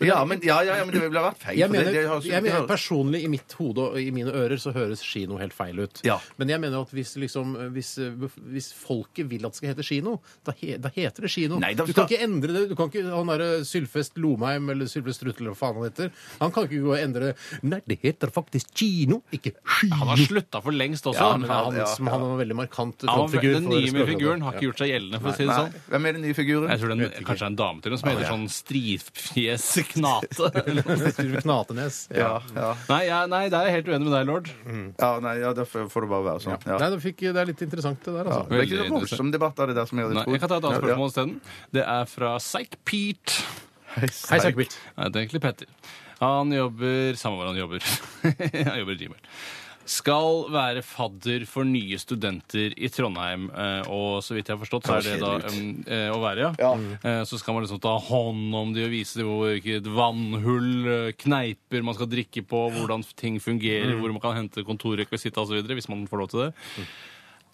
[SPEAKER 5] Ja, men, ja, ja, ja, men det ville ha vært feil.
[SPEAKER 16] Jeg
[SPEAKER 5] for det-
[SPEAKER 16] mener,
[SPEAKER 5] det har-
[SPEAKER 16] jeg mener personlig i mitt hode og i mine ører så høres kino helt feil ut. Men jeg mener at hvis, liksom, hvis, hvis folket vil at det skal hete kino, da, he, da heter det kino.
[SPEAKER 5] Nei, da
[SPEAKER 16] du
[SPEAKER 5] skal-
[SPEAKER 16] kan ikke endre det. Du kan ikke, han derre Sylfest Lomheim eller Sylfest Strutel eller hva faen han heter, han kan ikke gå og endre det. Nei, det heter faktisk kino, ikke kino.
[SPEAKER 8] Han har slutta for lengst også.
[SPEAKER 16] Ja, men han,
[SPEAKER 8] ja,
[SPEAKER 16] som, han var en veldig markant
[SPEAKER 8] Ja, men
[SPEAKER 16] frontfigur.
[SPEAKER 8] den
[SPEAKER 16] for
[SPEAKER 8] nye med
[SPEAKER 16] språkrådet.
[SPEAKER 8] figuren har ikke gjort seg gjeldende, for å si det
[SPEAKER 16] Nei.
[SPEAKER 8] sånn.
[SPEAKER 5] Hvem er den nye figuren?
[SPEAKER 8] Jeg tror den, kanskje det er en dame til og med, som
[SPEAKER 16] Ja,
[SPEAKER 8] heter
[SPEAKER 16] ja.
[SPEAKER 8] sånn strifjes knate. eller noe sånt.
[SPEAKER 16] Sylve Knatenes.
[SPEAKER 5] Ja, ja.
[SPEAKER 8] Nei, ja, nei, der er jeg helt uenig med deg, lord.
[SPEAKER 5] Ja, nei, ja, da får får det bare være sånn. Ja.
[SPEAKER 16] Nei, det, fikk, det er litt interessant, det
[SPEAKER 5] Ja,
[SPEAKER 16] der. Altså.
[SPEAKER 5] det er ikke så voldsom debatt av det der som jeg hadde
[SPEAKER 8] Nei, jeg kan ta et annet spørsmål isteden. Det er fra Psych-Pete.
[SPEAKER 5] Hei,
[SPEAKER 16] Psych-Pete.
[SPEAKER 8] Nei, det er egentlig Petter. Han jobber Samme hvor han jobber. han jobber i Gmail. Skal være fadder for nye studenter i Trondheim. eh, Og så vidt jeg har forstått, så er det da
[SPEAKER 9] Kjedelig.
[SPEAKER 8] em, eh, å være, ja. Eh, Så skal man liksom ta hånd om de og vise dem hvilket vannhull, eh, kneiper man skal drikke på, hvordan ting fungerer,
[SPEAKER 9] Mm.
[SPEAKER 8] hvor man kan hente kontorrekvisitt osv., hvis man får lov til det.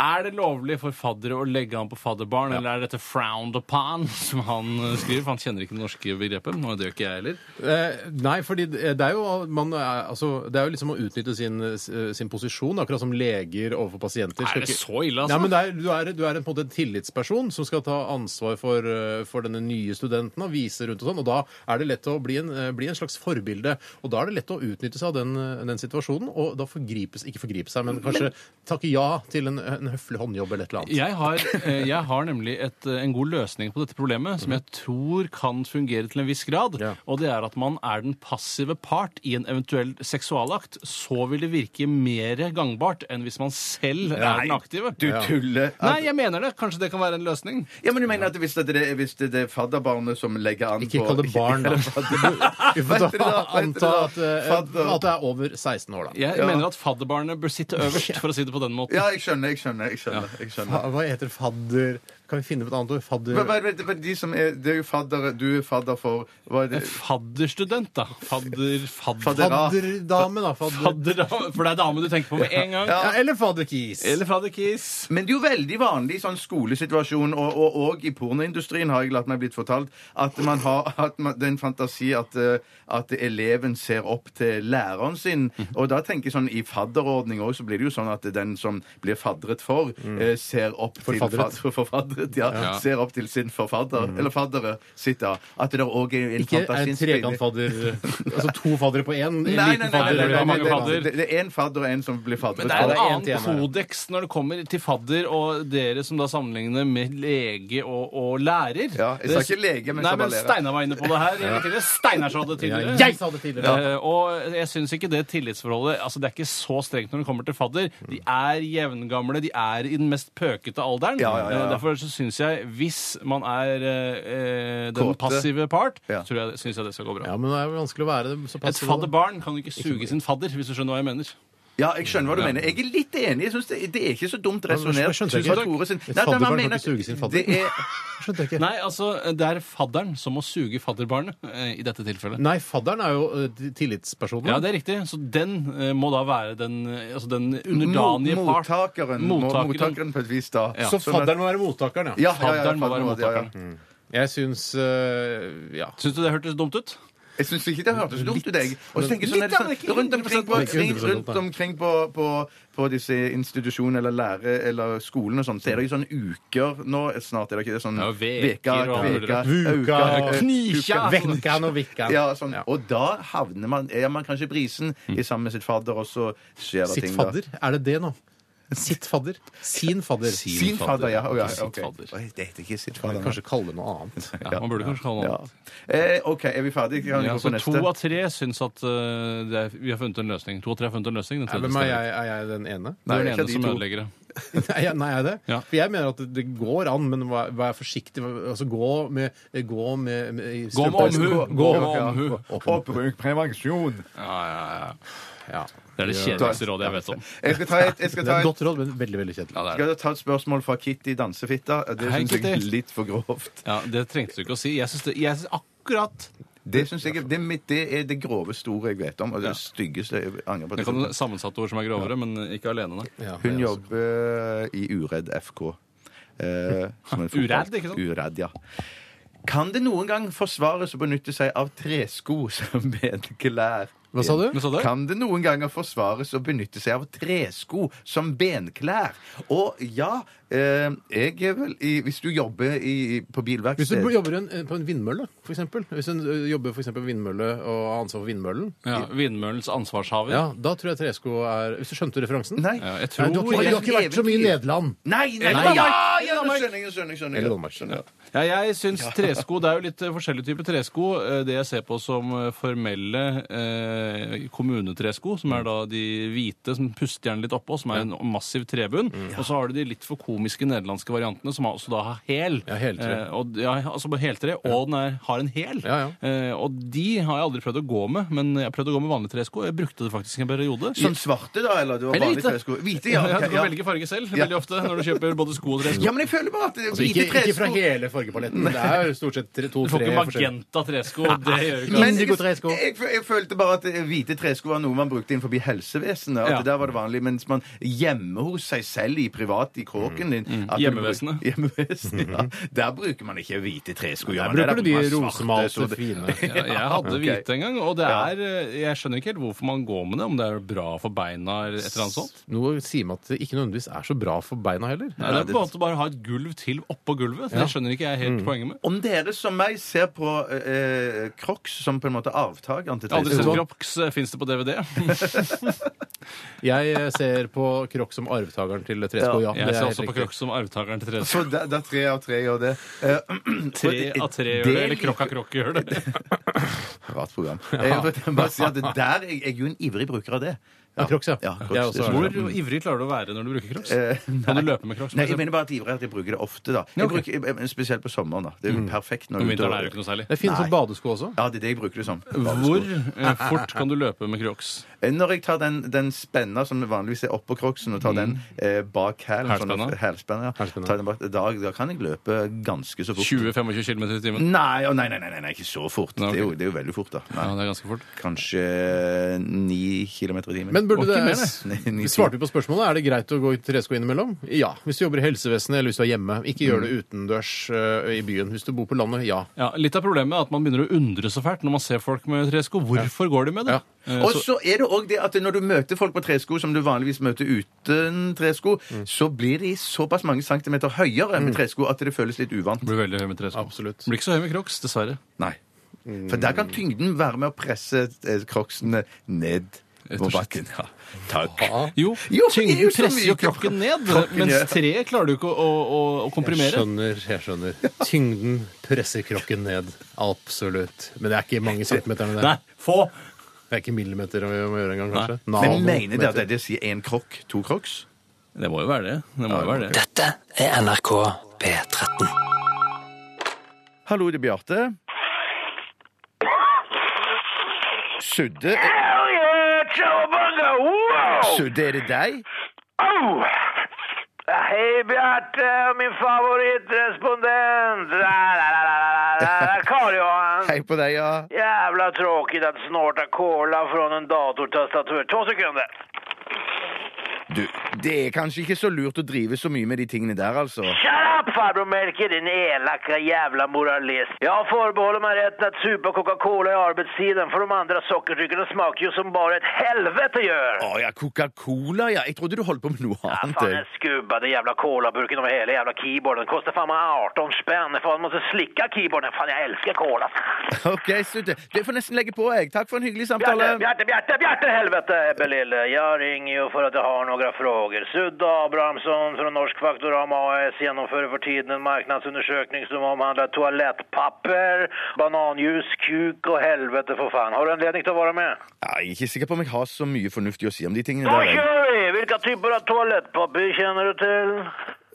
[SPEAKER 8] Er det lovlig for faddere å legge han på fadderbarn, eller er dette frowned upon, som han eh, skriver? For han kjenner ikke det norske begrepet. Og det gjør ikke jeg heller.
[SPEAKER 16] Eh, nei, fordi det det er jo, man, er- altså, det er jo liksom å utnytte sin, eh, sin posisjon, akkurat som leger overfor pasienter. Skal
[SPEAKER 8] Er det så ille, altså?
[SPEAKER 16] Nei, men det er, du, er, du er en, på en måte en tillitsperson som skal ta ansvar for, eh, for denne nye studenten og vise rundt og sånn, og da er det lett å bli en, eh, bli en slags forbilde. Og da er det lett å utnytte seg av den, eh, den situasjonen, og da forgripes, ikke forgripe seg, men kanskje takke ja til en, en høflig håndjobb eller et eller annet.
[SPEAKER 8] Jeg har, eh, jeg har nemlig et, eh, en god løsning på dette problemet, som jeg tror kan fungere til en viss grad. Og det er at man er den passive part i en eventuell seksualakt. Så vil det virke mer gangbart enn hvis man selv er
[SPEAKER 5] Nei,
[SPEAKER 8] den aktive.
[SPEAKER 5] du tuller.
[SPEAKER 8] Nei, jeg mener det. Kanskje det kan være en løsning.
[SPEAKER 5] Ja, men du mener at hvis det, er- hvis det er fadderbarnet som legger an
[SPEAKER 16] Ikke
[SPEAKER 5] på
[SPEAKER 16] kall det barn, da. Vi
[SPEAKER 5] Vet dere
[SPEAKER 16] får
[SPEAKER 5] da, vet
[SPEAKER 16] da
[SPEAKER 5] dere
[SPEAKER 16] anta
[SPEAKER 5] da,
[SPEAKER 16] at, eh,
[SPEAKER 5] fadder-
[SPEAKER 16] at det er over 16 år, da.
[SPEAKER 8] Jeg mener at fadderbarnet bør sitte øverst, for å si det på den måten.
[SPEAKER 5] Ja, jeg skjønner, jeg skjønner. Jeg skjønner, jeg skjønner.
[SPEAKER 16] Fa- Hva heter fadder? Kan vi finne på et annet ord? Fadder...
[SPEAKER 5] Men, men, men, men de som er, det er jo fadder Du er fadder for hva er det?
[SPEAKER 8] Fadderstudent, da. Fadder... Fadder...
[SPEAKER 16] Fadderdame, da.
[SPEAKER 8] Fadder, for det er dame du tenker på med en gang.
[SPEAKER 5] Ja,
[SPEAKER 16] eller fadderkis.
[SPEAKER 8] Eller fadderkis.
[SPEAKER 5] Men det er jo veldig vanlig i sånn skolesituasjon, og, og, og i pornoindustrien har jeg latt meg blitt fortalt, at man har at man, den fantasi at, eh, at eleven ser opp til læreren sin. Og da tenker jeg sånn i fadderordning òg, så blir det jo sånn at den som blir fadret for, eh, ser opp til
[SPEAKER 16] Mm. Forfadret.
[SPEAKER 5] fad- forfadret, ja,
[SPEAKER 16] Ja. Mm.
[SPEAKER 5] ser opp til sin forfadder, eller faddere sitt, da. At det òg er en
[SPEAKER 16] Ikke er en
[SPEAKER 5] fantasispinning.
[SPEAKER 16] tregantfadder Altså to faddere på én? En
[SPEAKER 5] Nei, nei, nei,
[SPEAKER 16] liten fadder?
[SPEAKER 5] nei,
[SPEAKER 16] eller
[SPEAKER 5] nei,
[SPEAKER 16] mange
[SPEAKER 5] nei,
[SPEAKER 16] fadder?
[SPEAKER 5] det- det det er en fadder og en som blir fadret.
[SPEAKER 8] Men det er
[SPEAKER 5] for.
[SPEAKER 8] en annen kodeks når det kommer til fadder og dere som da sammenligner med lege og, og lærer.
[SPEAKER 5] Ja, jeg sa ikke lege, men jeg
[SPEAKER 8] Nei,
[SPEAKER 5] sa bare
[SPEAKER 8] men
[SPEAKER 5] lærer.
[SPEAKER 8] Steinar var inne på det her.
[SPEAKER 5] Ja.
[SPEAKER 8] tidligere. Steinar sa det tidligere.
[SPEAKER 16] Ja, jeg sa det tidligere.
[SPEAKER 8] Eh, Og jeg syns ikke det tillitsforholdet altså Det er ikke så strengt når det kommer til fadder. De er jevngamle, de er i den mest pøkete alderen.
[SPEAKER 5] Ja, ja, ja, ja.
[SPEAKER 8] Eh, Derfor så så syns jeg, hvis man er eh, den
[SPEAKER 16] Kåte.
[SPEAKER 8] passive part, så tror jeg, syns jeg det skal gå bra.
[SPEAKER 16] Ja, men det er jo vanskelig å være det så
[SPEAKER 8] Et
[SPEAKER 16] passiv.
[SPEAKER 8] fadderbarn kan jo ikke suge sin fadder, hvis du skjønner hva jeg mener.
[SPEAKER 5] Ja, jeg skjønner hva du
[SPEAKER 8] Ja.
[SPEAKER 5] mener. Jeg er litt enig. Jeg synes det, det er ikke så dumt
[SPEAKER 8] Ja, men
[SPEAKER 5] resonnert.
[SPEAKER 8] jeg skjønte ikke.
[SPEAKER 5] fra Tore sin-
[SPEAKER 8] Et
[SPEAKER 5] Nei, men han
[SPEAKER 8] fadderbarn kan
[SPEAKER 5] mener
[SPEAKER 8] ikke suge sin fadder.
[SPEAKER 5] Det er
[SPEAKER 8] Nei, altså, det er fadderen som må suge fadderbarnet eh, i dette tilfellet.
[SPEAKER 16] Nei, fadderen er jo eh, tillitspersonen.
[SPEAKER 8] Ja, det er riktig. Så den eh, må da være den, eh, altså den underdanige
[SPEAKER 5] Mo-
[SPEAKER 8] part.
[SPEAKER 5] Mottakeren, må-
[SPEAKER 8] Mottakeren.
[SPEAKER 5] mottakeren på et vis, da.
[SPEAKER 8] Ja.
[SPEAKER 16] Så fadderen må være mottakeren,
[SPEAKER 5] Ja, ja,
[SPEAKER 16] ja.
[SPEAKER 5] ja,
[SPEAKER 8] Fadderen må være
[SPEAKER 5] fadderen må- ja, ja.
[SPEAKER 8] mottakeren.
[SPEAKER 16] Jeg syns eh, ja.
[SPEAKER 8] Syns du det hørtes dumt ut?
[SPEAKER 5] Jeg syns ikke det hørtes dumt ut, jeg. Og så
[SPEAKER 16] Men-
[SPEAKER 5] tenker jeg sånn, er det
[SPEAKER 16] Litt, ja,
[SPEAKER 5] sånn, rundt
[SPEAKER 16] men
[SPEAKER 5] omkring,
[SPEAKER 16] ikke 100%
[SPEAKER 5] på,
[SPEAKER 16] dumt,
[SPEAKER 5] kring,
[SPEAKER 16] da.
[SPEAKER 5] rundt omkring på, på, på disse institusjonene eller lære eller skolen og sånn, så er det jo sånne uker nå snart. Er det ikke det sånn
[SPEAKER 8] Ja, veker
[SPEAKER 5] veka,
[SPEAKER 8] og
[SPEAKER 5] kveka,
[SPEAKER 16] Vuka,
[SPEAKER 5] auka, eh,
[SPEAKER 16] knikja,
[SPEAKER 5] uka.
[SPEAKER 16] vekkan og vikkan.
[SPEAKER 5] Ja, sånn. Og da havner man Er man kanskje i brisen i sammen med sitt fadder, og så skjer det
[SPEAKER 16] Sitt
[SPEAKER 5] ting da.
[SPEAKER 16] fadder? Er det det nå? Sitt fadder? Sin fadder.
[SPEAKER 5] Sin fadder, ja. Å, ja,
[SPEAKER 16] Ikke sitt
[SPEAKER 5] ok.
[SPEAKER 16] fadder.
[SPEAKER 5] Oi, Det heter ikke sitt
[SPEAKER 16] Kan
[SPEAKER 5] fadder.
[SPEAKER 16] man kanskje kalle det noe annet.
[SPEAKER 8] Ja, man burde kanskje kalle det noe annet.
[SPEAKER 5] Eh, OK, er vi ferdige? Kan vi
[SPEAKER 8] Ja,
[SPEAKER 5] gå
[SPEAKER 8] så
[SPEAKER 5] på
[SPEAKER 8] to
[SPEAKER 5] neste?
[SPEAKER 8] av tre syns at eh, det er, vi har funnet en løsning. To av tre har funnet en løsning.
[SPEAKER 16] Ja,
[SPEAKER 8] Den tredje
[SPEAKER 16] men er
[SPEAKER 8] stemmer
[SPEAKER 16] jeg,
[SPEAKER 8] ikke.
[SPEAKER 16] er jeg den ene?
[SPEAKER 8] Du er den ene som ødelegger det.
[SPEAKER 16] Nei, jeg- nei, er jeg det? For jeg mener at det- det går an, men vær, vær forsiktig. Altså, gå med Gå med, med
[SPEAKER 8] Gå med
[SPEAKER 16] Gå,
[SPEAKER 8] omhu. Gå med
[SPEAKER 16] ja.
[SPEAKER 8] omhu.
[SPEAKER 5] Og bruk prevensjon.
[SPEAKER 8] Ja, ja, ja. Det er det kjedeligste rådet jeg vet om.
[SPEAKER 5] Jeg skal ta et, jeg skal
[SPEAKER 16] Det er
[SPEAKER 5] ta
[SPEAKER 16] et
[SPEAKER 5] et
[SPEAKER 16] godt råd, men veldig veldig kjedelig.
[SPEAKER 8] Ja, det er det.
[SPEAKER 5] Skal jeg ta et spørsmål fra Kitty Dansefitta? Det
[SPEAKER 8] Hei,
[SPEAKER 5] syns jeg er
[SPEAKER 8] Kitty.
[SPEAKER 5] litt for grovt.
[SPEAKER 8] Ja, Det trengte du ikke å si. Jeg syns det- jeg syns akkurat
[SPEAKER 5] Det, synes jeg, det, er mitt, det er det groveste ordet jeg vet om, og det styggeste jeg angrer på.
[SPEAKER 8] Det kan sammensatte ord som er grovere, men ikke alene.
[SPEAKER 5] Hun jobber i Uredd FK. eh, som en fotball-
[SPEAKER 8] Uredd, ikke sant?
[SPEAKER 5] Uredd, ja. Kan det noen gang forsvares å benytte seg av tresko som benklær?
[SPEAKER 16] Hva sa du? Hva sa du?
[SPEAKER 5] Kan det noen ganger forsvares å benytte seg av tresko som benklær? Og ja, eh, jeg er vel i, Hvis du jobber i, på
[SPEAKER 16] Hvis
[SPEAKER 5] bilverksted
[SPEAKER 16] du jobber i en, på en vindmølle, for eksempel. Hvis en ø, jobber for eksempel på vindmølle og har ansvar for vindmøllen.
[SPEAKER 8] Ja, Vindmøllens ansvarshaver.
[SPEAKER 16] Ja, Da tror jeg tresko er Hvis du skjønte referansen?
[SPEAKER 5] Nei.
[SPEAKER 8] Ja, jeg tror-
[SPEAKER 16] du, har ikke, du har ikke vært så mye i Nederland.
[SPEAKER 5] Nei, nei,
[SPEAKER 16] Nei.
[SPEAKER 5] nei, ja, ja, nå skjønner jeg, nå skjønner jeg, skjønner
[SPEAKER 16] Eller
[SPEAKER 5] jeg.
[SPEAKER 16] Danmark.
[SPEAKER 8] Ja, jeg syns tresko Det er jo litt eh, forskjellige typer tresko. Eh, Det jeg ser på som eh, formelle eh, kommunetresko, som er da de hvite som puster gjerne litt oppå, som er en massiv trebunn.
[SPEAKER 16] Mm.
[SPEAKER 8] Og så har du de litt for komiske nederlandske variantene, som har- også da har hæl.
[SPEAKER 16] Ja, heltre.
[SPEAKER 8] Eh, og, ja, altså på heltre, og den er, har en hæl. Eh, og de har jeg aldri prøvd å gå med, men jeg har prøvd å gå med vanlige tresko. Jeg brukte det faktisk en periode.
[SPEAKER 5] Sånn svarte, da? Eller det var
[SPEAKER 8] Eller
[SPEAKER 5] vanlige
[SPEAKER 8] hvite.
[SPEAKER 5] tresko? Hvite, ja.
[SPEAKER 8] Ja,
[SPEAKER 5] ok,
[SPEAKER 8] du kan velge farge selv
[SPEAKER 5] Ja.
[SPEAKER 8] veldig ofte når du kjøper både sko og tresko.
[SPEAKER 5] Ja, men jeg føler bare at det-
[SPEAKER 16] Altså,
[SPEAKER 5] hvite
[SPEAKER 16] ikke,
[SPEAKER 5] tresko
[SPEAKER 16] ikke fra hele fargepaletten. men Det er jo stort sett tre-
[SPEAKER 8] Du får
[SPEAKER 16] to-tre
[SPEAKER 8] ikke magenta tresko. Det gjør du ikke.
[SPEAKER 5] Men
[SPEAKER 8] altså.
[SPEAKER 5] jeg, jeg, jeg følte bare at eh, hvite tresko var noe man brukte innenfor helsevesenet. At
[SPEAKER 8] Ja.
[SPEAKER 5] Der var det vanlig. Mens man hjemme hos seg selv i privat, i kråken din at du
[SPEAKER 8] Mm. Hjemmevesenet.
[SPEAKER 5] bruk- Hjemmevesenet, ja. Der bruker man ikke hvite tresko. gjør
[SPEAKER 16] Der
[SPEAKER 5] man
[SPEAKER 16] bruker
[SPEAKER 5] det?
[SPEAKER 16] du
[SPEAKER 5] Der
[SPEAKER 16] de
[SPEAKER 5] bruker man svarte,
[SPEAKER 16] rosemalte,
[SPEAKER 5] så det-
[SPEAKER 16] fine.
[SPEAKER 8] Ja, jeg hadde
[SPEAKER 5] Ok.
[SPEAKER 8] hvite en gang, og det er, eh, jeg skjønner ikke helt hvorfor man går med det. Om det er bra for beina eller et eller annet sånt.
[SPEAKER 16] Noe sier meg at det ikke nødvendigvis er så bra for beina heller.
[SPEAKER 8] Nei, det er på en måte bare å ha et gulv til oppå gulvet.
[SPEAKER 16] Ja.
[SPEAKER 8] Det skjønner ikke jeg helt poenget med.
[SPEAKER 5] Om dere som meg ser på eh, Crocs som på en måte avtakeren til
[SPEAKER 8] Jeg har aldri sett
[SPEAKER 5] tresko
[SPEAKER 8] Crocs. Fins det på DVD?
[SPEAKER 16] Jeg eh, ser på Krokk som arvtakeren til tresko, ja.
[SPEAKER 8] jeg
[SPEAKER 16] det er
[SPEAKER 8] ser
[SPEAKER 16] helt
[SPEAKER 8] også på
[SPEAKER 16] riktig.
[SPEAKER 8] Crocs som arvtakeren til
[SPEAKER 5] Så
[SPEAKER 8] tresko.
[SPEAKER 5] da, da tre av tre gjør det. Eh,
[SPEAKER 8] Tre
[SPEAKER 5] og
[SPEAKER 8] av tre gjør det, eller
[SPEAKER 5] liker-
[SPEAKER 8] krokk av krokk gjør det.
[SPEAKER 5] Rart program. Jeg vil bare si at det der, jeg, jeg er jo en ivrig bruker av det.
[SPEAKER 16] Ja, Crocs, ja.
[SPEAKER 5] Crocs,
[SPEAKER 16] Jeg også
[SPEAKER 5] det er
[SPEAKER 16] har
[SPEAKER 5] sånn.
[SPEAKER 8] Hvor ivrig klarer du å være når du bruker Crocs?
[SPEAKER 5] Eh,
[SPEAKER 8] Kan du løpe med Crocs?
[SPEAKER 16] Altså-
[SPEAKER 5] Nei, jeg mener bare at ivrig er at jeg bruker det ofte, da. Jeg bruker, eh, spesielt på sommeren, da. Det er
[SPEAKER 16] Mm.
[SPEAKER 5] jo perfekt når
[SPEAKER 8] Om
[SPEAKER 5] du
[SPEAKER 8] vinteren er det ikke noe særlig.
[SPEAKER 16] Det finnes jo badesko også.
[SPEAKER 5] Ja, det er det jeg bruker det som.
[SPEAKER 8] Hvor eh, fort kan du løpe med Crocs?
[SPEAKER 5] Eh, Når jeg tar den, den spenna som vanligvis er oppå crocsen, og tar den
[SPEAKER 16] Mm.
[SPEAKER 5] eh, bak hælen
[SPEAKER 8] Hælspenna?
[SPEAKER 5] Hælspenna. ja. Tar den bak- Da, da kan jeg løpe ganske så fort.
[SPEAKER 8] 20-25 km i timen?
[SPEAKER 5] Nei, å, nei, nei, nei, nei, nei, ikke så fort.
[SPEAKER 8] Nei, ok.
[SPEAKER 5] det, er jo, det er jo veldig fort, da. Nei.
[SPEAKER 8] Ja, det er ganske fort.
[SPEAKER 5] Kanskje ni kilometer i timen.
[SPEAKER 16] Men
[SPEAKER 5] Og
[SPEAKER 16] burde
[SPEAKER 5] ikke mer,
[SPEAKER 16] det
[SPEAKER 5] nei. Ni-
[SPEAKER 16] Vi
[SPEAKER 5] ni-
[SPEAKER 16] svarte jo på spørsmålet. Er det greit å gå i tresko innimellom? Ja. Hvis du jobber i helsevesenet, eller hvis du er hjemme. Ikke gjør det
[SPEAKER 5] Mm.
[SPEAKER 16] utendørs ø, i byen. Hvis du bor på landet, ja.
[SPEAKER 8] Ja, litt av problemet er at man begynner å undre så fælt når man ser folk med tresko. Hvorfor går de med det? Eh,
[SPEAKER 5] Og
[SPEAKER 8] så-
[SPEAKER 5] så er det òg det at når du møter folk på tresko som du vanligvis møter uten tresko,
[SPEAKER 8] Mm.
[SPEAKER 5] så blir de såpass mange centimeter høyere med tresko at det føles litt uvant.
[SPEAKER 8] Blir veldig høy med tresko.
[SPEAKER 16] Absolutt.
[SPEAKER 8] Blir ikke så høy med crocs, dessverre.
[SPEAKER 5] Nei.
[SPEAKER 8] Mm.
[SPEAKER 5] For der kan tyngden være med å presse eh, crocsene ned på bakken. Ja. Takk. Jo,
[SPEAKER 8] Jo,
[SPEAKER 5] for det er jo
[SPEAKER 8] tyngden
[SPEAKER 5] så
[SPEAKER 8] presser jo
[SPEAKER 5] myke
[SPEAKER 8] krokken ned,
[SPEAKER 5] krokken, ja.
[SPEAKER 8] mens treet klarer du ikke å, å, å
[SPEAKER 16] Jeg
[SPEAKER 8] komprimere.
[SPEAKER 16] skjønner. jeg skjønner. Tyngden presser krokken ned. Absolutt. Men det er ikke mange centimeterne der.
[SPEAKER 8] Nei, få!
[SPEAKER 16] Det er ikke millimeter vi må gjøre engang, kanskje.
[SPEAKER 5] Men
[SPEAKER 16] Nanometer.
[SPEAKER 5] mener dere at det sier én krokk, to crocs?
[SPEAKER 8] Det må jo være det. Det må jo være det.
[SPEAKER 13] Dette er NRK P13.
[SPEAKER 5] Hallo, det er Bjarte. Sudde
[SPEAKER 9] Hell yeah, cowabunga! Wow!
[SPEAKER 5] Sudde, er det deg?
[SPEAKER 9] Oh! Hei, Bjarte, min favorittrespondent! La, la, la, la, la, la, la, Karl Johan!
[SPEAKER 5] Hei på deg, ja.
[SPEAKER 9] Jävla tråkigt att snorta cola från en datortastatur. Två sekunder.
[SPEAKER 5] Du, det er kanskje ikke så lurt å drive så mye med de tingene der, altså.
[SPEAKER 9] Shut up farbror Melker, din elaka jävla moralist. Jag förbehåller mig rätten att supa Coca-Cola i arbetstiden för de andra sockerdryckerna smakar ju som bara ett helvete gör.
[SPEAKER 5] Å ja, Coca-Cola, ja. Jeg trodde du holdt på med noe annet.
[SPEAKER 9] Fan
[SPEAKER 5] jeg.
[SPEAKER 9] den skubbade jävla colaburken över hela jävla keyboarden. Kostar fan mig 18 spänn. Fan måste slicka keyboarden. Fan jag älskar cola.
[SPEAKER 5] OK, Sudde. Du får nesten legge på, jeg. Takk for en hyggelig samtale.
[SPEAKER 9] Bjarte, Bjarte, Bjarte, Bjarte, helvete Ebbe Lille. Jag ringer ju för att jag har några frågor. Sudda Abrahamsson från Norsk Faktoram AS genomför för tiden en marknadsundersökning som omhandlar toalettpapper, bananljus, kuk og helvete for faen. Har du anledning til å være med?
[SPEAKER 5] Ja, jeg er ikke sikker på om jeg har så mye fornuftig å si om de tingene
[SPEAKER 9] Då
[SPEAKER 5] der. Jeg,
[SPEAKER 9] kör vi! Vilka typer av toalettpapper känner du till?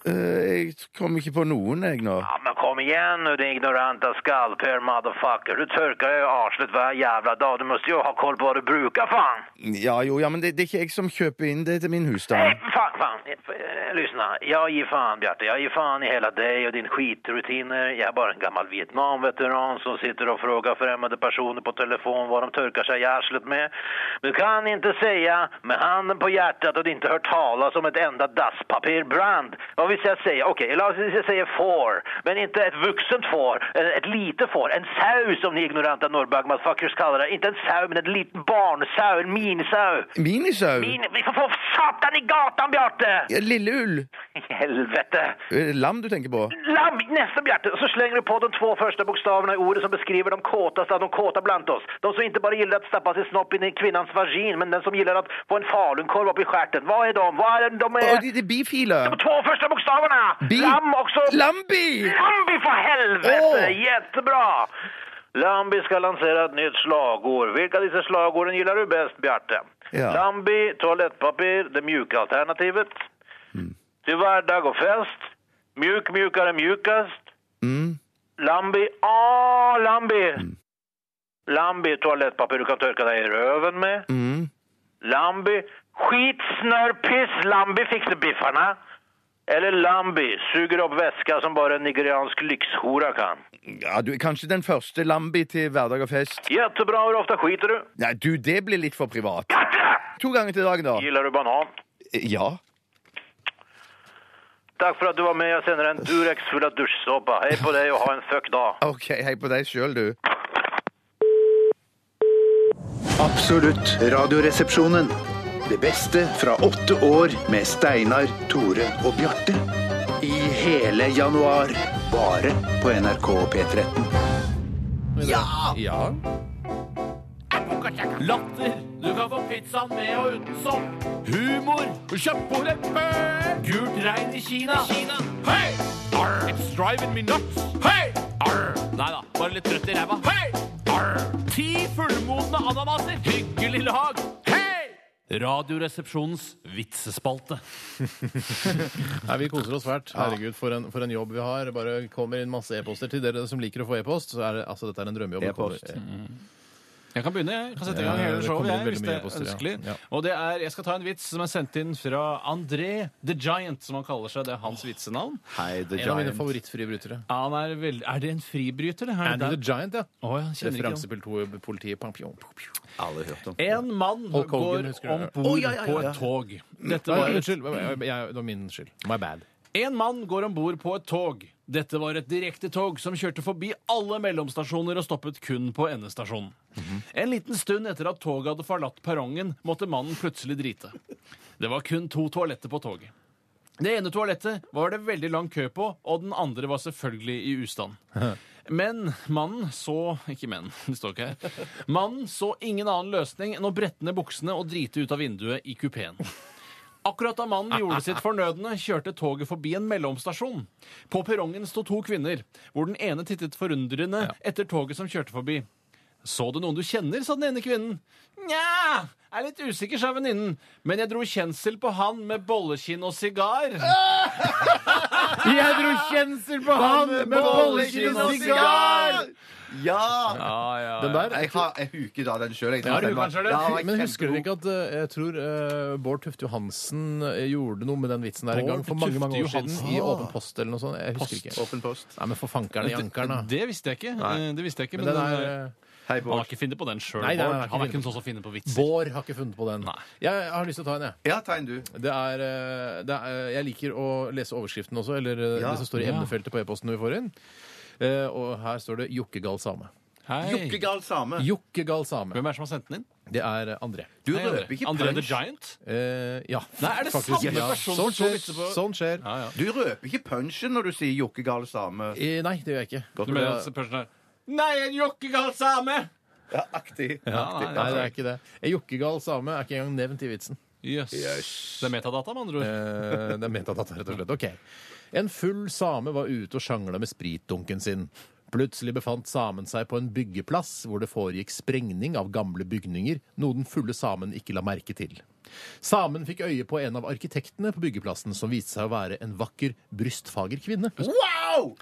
[SPEAKER 5] Eh, jeg kom ikke på noen, jeg, nå.
[SPEAKER 9] Ja, men kom igen nu din ignoranta skallpär motherfucker. Du törkar ju arslet varje jävla dag. Du måste ju ha koll på vad du brukar fan.
[SPEAKER 5] Ja, jo, ja, men det, det er ikke jeg som kjøper inn det til min husstand.
[SPEAKER 9] Fan, fan. Eh, Lyssna, jag ger fan Bjarte. Jag ger fan i hela dig och din skitrutiner. Jag är bara en gammal Vietnamveteran som sitter och frågar främmande personer på telefon vad de törkar sig i arslet med. Du kan inte säga med handen på hjärtat att du inte hört talas om ett enda dasspapperbrand. Vad vill jag säga? Okej, eller alltså, jag säger får. Men inte ett vuxent får, eh, ett litet får. En sau som ni ignoranta norrbagmatfuckers kallar det. Inte en sau, men en liten barnsau, en minisau.
[SPEAKER 5] Minisau?
[SPEAKER 9] Min, vi får få satan i gatan, Bjarte!
[SPEAKER 5] Ja, lille ull.
[SPEAKER 9] Helvete.
[SPEAKER 5] Er det Lam du tenker på?
[SPEAKER 9] Lamm, nästan Bjarte. Och så slänger du på de två första bokstäverna i ordet som beskriver de kåtaste av de kåta bland oss. De som inte bara gillar att stappa sin snopp in i kvinnans vagin, men den som gillar att få en falukorv upp i stjärten. Vad är de? Vad är de? De är...
[SPEAKER 5] Å, det, det er bifile.
[SPEAKER 9] De två första bokstäverna!
[SPEAKER 5] Bi-
[SPEAKER 9] Lamm också.
[SPEAKER 5] Lambi!
[SPEAKER 9] Lambi för helvete!
[SPEAKER 5] Åh.
[SPEAKER 9] Jättebra! Lambi ska lansera ett nytt slagord. Vilka av dessa slagorden gillar du bäst, Bjarte?
[SPEAKER 5] Ja.
[SPEAKER 9] Lambi, toalettpapper, det mjuka alternativet. Till vardag och fest. Mjuk, mjukare, mjukast.
[SPEAKER 5] Mm.
[SPEAKER 9] Lambi, ah, Lambi! Lambi, toalettpapper du kan torka dig i röven med.
[SPEAKER 5] Mm.
[SPEAKER 9] Lambi. Skit, snör, piss, Lambi fixar biffarna. Eller Lambi, suger opp væska som bare en nigeriansk lyxhora kan.
[SPEAKER 5] Ja, du er kanskje den første Lambi til hverdag og fest.
[SPEAKER 9] Jättebra, hur ofta skiter du?
[SPEAKER 5] Nei, du, det blir litt for privat. To ganger til dagen, da. Eh,
[SPEAKER 9] Gillar du banan?
[SPEAKER 5] Ja.
[SPEAKER 9] Takk for at du var med. Jeg sender en Durex full av dusjsåpe. Hei på deg, og ha en fuck dag.
[SPEAKER 5] OK, hei på deg sjøl, du.
[SPEAKER 1] Absolutt Radioresepsjonen. Det beste fra åtte år med Steinar, Tore og Bjarte. I hele januar. Bare på NRK P13.
[SPEAKER 16] Ja!
[SPEAKER 9] Latter.
[SPEAKER 8] Du kan få pizzaen med og uten sopp. Humor. Kjøpt på leppe. Gult regn i Kina. Hei! Arr. It's driving me nuts. Hei! Arr. Nei da, bare litt trøtt i ræva. Hei! Arr. Ti fullmodne ananaser. Hyggelig lag. Hei! Radioresepsjonens vitsespalte.
[SPEAKER 16] Nei, Vi koser oss fælt. Herregud, for en, for en jobb vi har. Bare kommer inn masse e-poster. Til dere som liker å få e-post, så er det, altså, dette er en drømmejobb.
[SPEAKER 8] E-post.
[SPEAKER 16] Det kommer-
[SPEAKER 8] Jeg kan begynne. Jeg kan sette i gang
[SPEAKER 16] Ja,
[SPEAKER 8] hele
[SPEAKER 16] det
[SPEAKER 8] showet,
[SPEAKER 16] kommer
[SPEAKER 8] jeg, hvis
[SPEAKER 16] veldig
[SPEAKER 8] det
[SPEAKER 16] mye
[SPEAKER 8] er
[SPEAKER 16] e-poster, ja.
[SPEAKER 8] ønskelig.
[SPEAKER 16] Ja.
[SPEAKER 8] Og det er, Jeg skal ta en vits som er sendt inn fra André The Giant, som han kaller seg. Det er hans vitsenavn.
[SPEAKER 16] Hei,
[SPEAKER 8] The
[SPEAKER 16] en av mine
[SPEAKER 8] Giant.
[SPEAKER 16] favorittfribrytere.
[SPEAKER 8] Ja, han er, veld... er det en fribryter? eller? Er det
[SPEAKER 16] Andy the
[SPEAKER 8] der?
[SPEAKER 16] Giant, ja.
[SPEAKER 8] Å, ja, kjenner ikke
[SPEAKER 16] Referanse til to- politiet. Pam, pjom, pom, pjom.
[SPEAKER 8] En mann
[SPEAKER 16] Hulk Hogan,
[SPEAKER 8] går
[SPEAKER 16] husker du
[SPEAKER 8] om
[SPEAKER 16] det?
[SPEAKER 8] bord
[SPEAKER 16] Å, ja, ja,
[SPEAKER 8] på
[SPEAKER 16] ja,
[SPEAKER 8] et
[SPEAKER 16] ja.
[SPEAKER 8] tog. Dette
[SPEAKER 16] Nei,
[SPEAKER 8] var et...
[SPEAKER 16] Unnskyld. jeg- jeg- Det var min skyld. My bad.
[SPEAKER 8] En mann går om bord på et tog. Dette var et direktetog som kjørte forbi alle mellomstasjoner og stoppet kun på endestasjonen. En liten stund etter at toget hadde forlatt perrongen, måtte mannen plutselig drite. Det var kun to toaletter på toget. Det ene toalettet var det veldig lang kø på, og den andre var selvfølgelig i ustand. Men mannen så Ikke men, det står ikke her. Mannen så ingen annen løsning enn å brette ned buksene og drite ut av vinduet i kupeen. Akkurat da mannen gjorde sitt fornødne, kjørte toget forbi en mellomstasjon. På perrongen sto to kvinner, hvor den ene tittet forundrende etter toget som kjørte forbi. Så du noen du kjenner, sa den ene kvinnen. Nja, er litt usikker, sa venninnen. Men jeg dro kjensel på han med bollekinn og sigar.
[SPEAKER 17] Jeg dro kjensel på han med bollekinn og sigar!
[SPEAKER 5] Ja!
[SPEAKER 16] Den der-
[SPEAKER 5] jeg, har, jeg huker da den sjøl.
[SPEAKER 16] Ja, du kan selv det. Men husker dere ikke at eh, jeg tror eh, Bård Tufte Johansen eh, gjorde noe med den vitsen der en
[SPEAKER 8] Bård
[SPEAKER 16] gang for mange mange år
[SPEAKER 8] Tufte
[SPEAKER 16] siden?
[SPEAKER 8] Johansen.
[SPEAKER 16] I Åpen post eller noe sånt. Jeg husker
[SPEAKER 8] Post.
[SPEAKER 16] ikke. Nei, men for fankeren i ankeren, da.
[SPEAKER 8] Det, det visste jeg ikke.
[SPEAKER 16] Nei.
[SPEAKER 8] Eh, Det visste jeg ikke
[SPEAKER 16] Men
[SPEAKER 8] men,
[SPEAKER 16] den er,
[SPEAKER 8] den er-
[SPEAKER 16] Hei,
[SPEAKER 8] Han har ikke funnet på den sjøl,
[SPEAKER 16] Nei, nei,
[SPEAKER 8] Bård.
[SPEAKER 16] nei,
[SPEAKER 8] Han er ikke
[SPEAKER 16] funnet
[SPEAKER 8] en
[SPEAKER 16] på
[SPEAKER 8] sånn som finner på vitser.
[SPEAKER 16] Bård har ikke funnet på den. Jeg har lyst til å ta en, jeg.
[SPEAKER 5] Ja, ta en du.
[SPEAKER 16] Det er, eh, det er, jeg liker å lese overskriften også, eller eh,
[SPEAKER 17] Ja.
[SPEAKER 16] det som står i
[SPEAKER 17] Ja.
[SPEAKER 16] emnefeltet på e-posten vi får inn. Eh, Og her står det 'jokkegal same'.
[SPEAKER 5] Jokkegal same.
[SPEAKER 16] Jokkegal same.
[SPEAKER 8] Hvem er det som har sendt den inn?
[SPEAKER 16] Det er eh, André.
[SPEAKER 8] Du Hei, røper André. ikke André the punch. Giant?
[SPEAKER 16] Eh, ja.
[SPEAKER 8] Nei, er det
[SPEAKER 16] Faktisk,
[SPEAKER 8] samme
[SPEAKER 16] ja.
[SPEAKER 8] person
[SPEAKER 16] Sånn
[SPEAKER 8] som
[SPEAKER 16] skjer.
[SPEAKER 8] sitter på-
[SPEAKER 16] Sånn skjer.
[SPEAKER 5] Du røper ikke punchen når du sier 'jokkegal same'.
[SPEAKER 16] Eh, Nei, det gjør jeg ikke.
[SPEAKER 5] Godt.
[SPEAKER 8] Du mener at personen er Nei, en jokkegal same!
[SPEAKER 5] Ja, aktig.
[SPEAKER 16] Ja, nei,
[SPEAKER 8] Aktig.
[SPEAKER 16] nei, det er ikke det. En jokkegal same er ikke engang nevnt i vitsen.
[SPEAKER 8] Jøss. Det er metadata, med andre ord.
[SPEAKER 16] Eh, det er metadata, rett og slett. Ok. En full same var ute og sjangla med spritdunken sin. Plutselig befant samen seg på en byggeplass hvor det foregikk sprengning av gamle bygninger, noe den fulle samen ikke la merke til. Samen fikk øye på en av arkitektene på byggeplassen, som viste seg å være en vakker, brystfager kvinne.
[SPEAKER 5] Wow!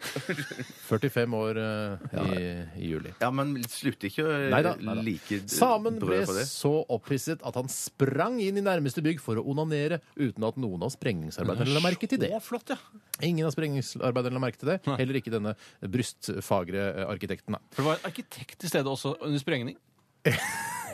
[SPEAKER 16] 45 år eh, i, i juli.
[SPEAKER 5] Ja, men slutter ikke å
[SPEAKER 16] Neida, neida.
[SPEAKER 5] like
[SPEAKER 16] Samen ble
[SPEAKER 5] brød på det.
[SPEAKER 16] så opphisset at han sprang inn i nærmeste bygg for å onanere, uten at noen av sprengningsarbeiderne la merke til det. Ingen av sprengningsarbeiderne la merke til det. Heller ikke denne brystfagre eh, arkitekten. da.
[SPEAKER 8] For det var en arkitekt i stedet også, under sprengning.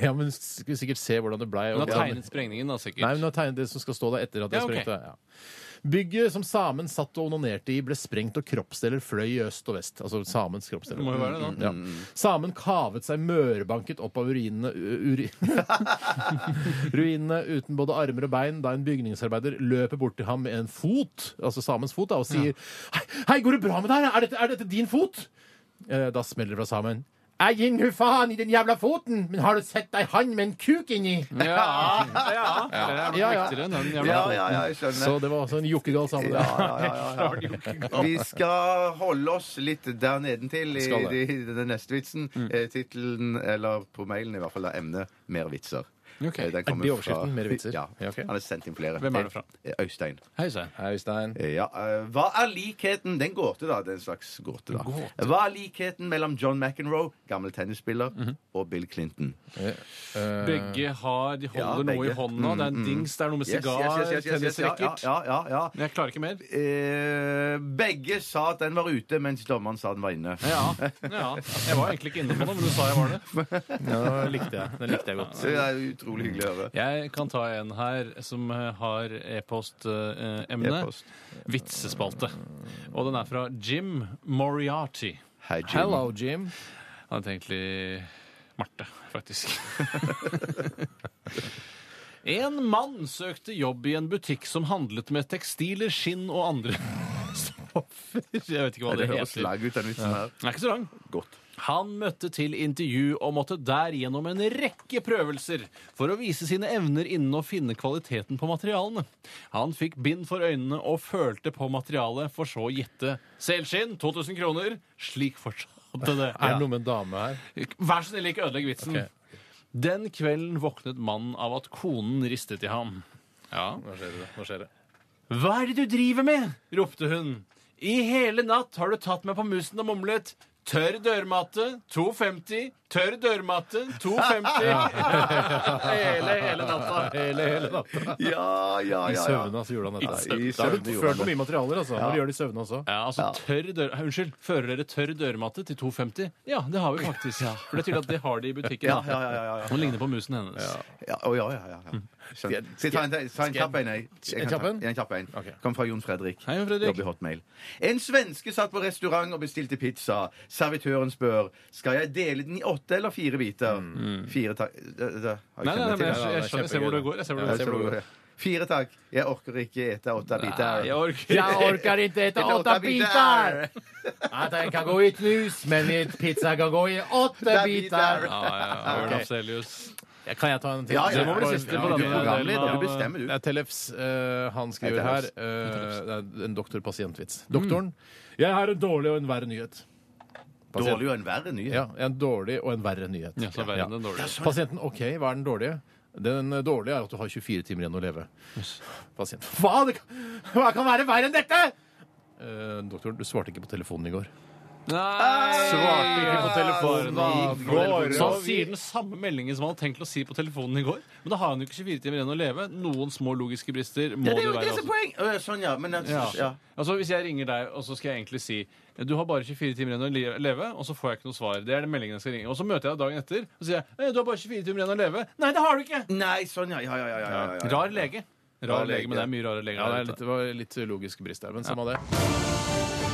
[SPEAKER 16] Ja, men skulle sikkert se hvordan det blei.
[SPEAKER 8] Hun har
[SPEAKER 16] og-
[SPEAKER 8] tegnet sprengningen, da, sikkert.
[SPEAKER 16] Nei, men hun har tegnet det som skal stå der etter at jeg
[SPEAKER 8] Ja, ok.
[SPEAKER 16] sprengte. Ja. Bygget som samen satt og onanerte i, ble sprengt, og kroppsdeler fløy i øst og vest. Altså samens kroppsdeler.
[SPEAKER 8] Det må jo være det, da.
[SPEAKER 5] Mm,
[SPEAKER 16] Ja. Samen kavet seg mørbanket opp av ruinene u- uri- Ruinene uten både armer og bein da en bygningsarbeider løper bort til ham med en fot, altså samens fot, da, og sier Hei, hei, går det bra med deg? Er dette, er dette din fot? Eh, Da smeller det fra sammen. Jeg gir nu faen i den jævla foten, men har du sett ei hand med en kuk inni?
[SPEAKER 8] Ja, ja. Det er
[SPEAKER 16] Ja, ja.
[SPEAKER 8] viktigere enn den jævla
[SPEAKER 5] Ja, ja, ja, jeg skjønner.
[SPEAKER 16] Så det var altså en jokkegal sammen.
[SPEAKER 5] Ja, ja, ja, ja. Vi skal holde oss litt der nedentil i,
[SPEAKER 16] Skal det. Mm.
[SPEAKER 5] i den neste vitsen. Eh, Tittelen, eller på mailen i hvert fall, er emnet 'Mer vitser'.
[SPEAKER 16] Ok.
[SPEAKER 5] Eh, den
[SPEAKER 16] Er det
[SPEAKER 5] kommer fra-
[SPEAKER 16] overskriften, «Mer vitser»?
[SPEAKER 5] Ja.
[SPEAKER 16] Ja, ok.
[SPEAKER 5] Han har sendt inn flere.
[SPEAKER 16] Hvem er det fra?
[SPEAKER 5] Eh, Øystein.
[SPEAKER 8] Hei, Øystein.
[SPEAKER 5] Eh, Ja, eh, hva er likheten Den gåte, da. Det er en slags gåte, da. Hva er likheten mellom John McEnroe, gammel tennisspiller,
[SPEAKER 16] Mhm.
[SPEAKER 5] og Bill Clinton?
[SPEAKER 8] Begge har, de
[SPEAKER 5] Eh, Ja,
[SPEAKER 8] holder noe
[SPEAKER 5] begge.
[SPEAKER 8] i hånda. Det er en
[SPEAKER 5] Mm, mm.
[SPEAKER 8] dings, det er noe med
[SPEAKER 5] Yes, yes,
[SPEAKER 8] sigar,
[SPEAKER 5] yes, yes, yes, yes,
[SPEAKER 8] tennisracket.
[SPEAKER 5] Ja, ja, ja, ja.
[SPEAKER 8] Jeg klarer ikke mer.
[SPEAKER 5] Eh, begge sa at den var ute, mens dommeren sa den var inne.
[SPEAKER 8] Ja, ja. Jeg var egentlig ikke inne på noe, men du sa jeg var det.
[SPEAKER 16] Ja, det likte jeg. Det likte jeg godt.
[SPEAKER 5] Så Det er utrolig hyggelig å høre.
[SPEAKER 8] Jeg kan ta en her som eh, har eh, e-postemne.
[SPEAKER 5] E-post.
[SPEAKER 8] Vitsespalte. Og den er fra Jim Moriarty.
[SPEAKER 5] Hei, Jim.
[SPEAKER 16] Hello, Jim.
[SPEAKER 8] Han heter egentlig Marte, faktisk. en mann søkte jobb i en butikk som handlet med tekstiler, skinn og andre stoffer. Jeg vet ikke hva
[SPEAKER 5] Det
[SPEAKER 8] det,
[SPEAKER 5] høres
[SPEAKER 8] heter.
[SPEAKER 5] lag ut, den vitsen her.
[SPEAKER 8] Den er ikke så lang.
[SPEAKER 5] Godt.
[SPEAKER 8] Han møtte til intervju og måtte der gjennom en rekke prøvelser for å vise sine evner innen å finne kvaliteten på materialene. Han fikk bind for øynene og følte på materialet, for så å gjette selskinn 2000 kroner. Slik fortsatte det.
[SPEAKER 16] Er det noe med en dame her?
[SPEAKER 8] Vær så snill, ikke ødelegg vitsen.
[SPEAKER 16] Ok.
[SPEAKER 8] Den kvelden våknet mannen av at konen ristet i ham. Ja.
[SPEAKER 16] Nå skjer det. Nå skjer det.
[SPEAKER 8] Hva er det du driver med? ropte hun. I hele natt har du tatt meg på musen og mumlet. Tørr dørmatte, 2,50. Tørr dørmatte, 2,50. hele, hele natta.
[SPEAKER 16] Hele, hele natta.
[SPEAKER 5] Ja, ja,
[SPEAKER 16] I
[SPEAKER 8] ja, ja.
[SPEAKER 16] søvne altså, gjorde han
[SPEAKER 8] I
[SPEAKER 16] dette.
[SPEAKER 8] søvne
[SPEAKER 16] Da har du
[SPEAKER 8] gjorde
[SPEAKER 16] ført
[SPEAKER 8] han
[SPEAKER 16] på
[SPEAKER 8] det.
[SPEAKER 16] mye materialer, altså.
[SPEAKER 8] Ja.
[SPEAKER 16] Når du gjør det i søvne også.
[SPEAKER 8] Ja, altså tørr dør... Unnskyld, fører dere tørr dørmatte til 2,50? Ja, det har vi faktisk. For det er tydelig at det har de i butikken.
[SPEAKER 5] Ja, ja, ja, ja, ja.
[SPEAKER 8] Hun ligner på musen hennes.
[SPEAKER 5] Ja, å, ja, ja, ja, ja. Skjønner. Skal jeg ta en, ta en kjapp en? jeg? Jeg kan
[SPEAKER 16] En kjapp en?
[SPEAKER 5] ta- En kjapp en. Kom fra Jon Fredrik.
[SPEAKER 8] Hei, Jon Fredrik.
[SPEAKER 5] Jobber i Hotmail. En svenske satt på restaurant og bestilte pizza. Servitøren spør skal jeg dele den i åtte eller fire biter. Fire takk Da- da- har jeg
[SPEAKER 8] Mm.
[SPEAKER 5] kjent
[SPEAKER 8] Nei, nei, nei, men
[SPEAKER 5] til.
[SPEAKER 8] jeg- jeg skjønner- jeg ser hvor det går, jeg ser hvor det-
[SPEAKER 5] Ja,
[SPEAKER 8] jeg ser hvor det går.
[SPEAKER 5] Fire takk. Jeg orker ikke ete åtte biter.
[SPEAKER 8] Nei, jeg orker-
[SPEAKER 16] Jeg orker ikke ete åtte biter! At en kan gå i knus, men en pizza kan gå i åtte biter.
[SPEAKER 8] Ja, ja, ja. Bjørn
[SPEAKER 16] Ok.
[SPEAKER 8] Afselius.
[SPEAKER 16] Ja, Kan jeg ta en til?
[SPEAKER 8] Ja, ja, Det må bli ja, siste ja, på du denne er programleder, delen av-
[SPEAKER 5] du bestemmer, du.
[SPEAKER 16] Det er Tellefs. eh, han skriver
[SPEAKER 5] Hei,
[SPEAKER 16] her
[SPEAKER 5] Tellefs.
[SPEAKER 16] Mm. eh, Det er en doktor-pasient-vits. Doktoren. Jeg har en dårlig og en verre nyhet. Pasient-
[SPEAKER 8] Dårlig og en verre nyhet.
[SPEAKER 16] Ja, en dårlig og en verre nyhet.
[SPEAKER 8] Ja, så verre enn den dårlige. Ja, sånn.
[SPEAKER 16] Pasienten OK, hva er den dårlige? Den eh, dårlige er at du har 24 timer igjen å leve. Pasient. Hva? Det kan, hva kan være verre enn dette?! Eh, doktor, du svarte ikke på telefonen i går.
[SPEAKER 8] Svarte ikke på telefonen
[SPEAKER 16] i går.
[SPEAKER 8] Så han sier den samme meldingen som han hadde tenkt å si på telefonen i går. Men da har han jo ikke 24 timer igjen å leve. Noen små logiske brister må
[SPEAKER 5] Ja, det er
[SPEAKER 8] det
[SPEAKER 5] jo
[SPEAKER 8] være.
[SPEAKER 5] det som er
[SPEAKER 8] altså.
[SPEAKER 5] poeng! Å, ja, Sånn, ja. Men at,
[SPEAKER 8] Ja.
[SPEAKER 5] ja.
[SPEAKER 8] Altså Hvis jeg ringer deg, og så skal jeg egentlig si du har bare 24 timer igjen å le- leve, og så får jeg ikke noe svar. Det er den meldingen jeg skal ringe. Og så møter jeg deg dagen etter og sier jeg, «Eh, du har bare 24 timer igjen å leve. Nei, det har du ikke!
[SPEAKER 5] Nei, sånn, ja. Ja, ja, ja. ja, ja, ja.
[SPEAKER 8] Rar lege. Rar lege, men det er mye rare leger.
[SPEAKER 16] Ja, det
[SPEAKER 8] der
[SPEAKER 16] er
[SPEAKER 8] ute.
[SPEAKER 16] litt, det var litt logisk brist der, men samme det.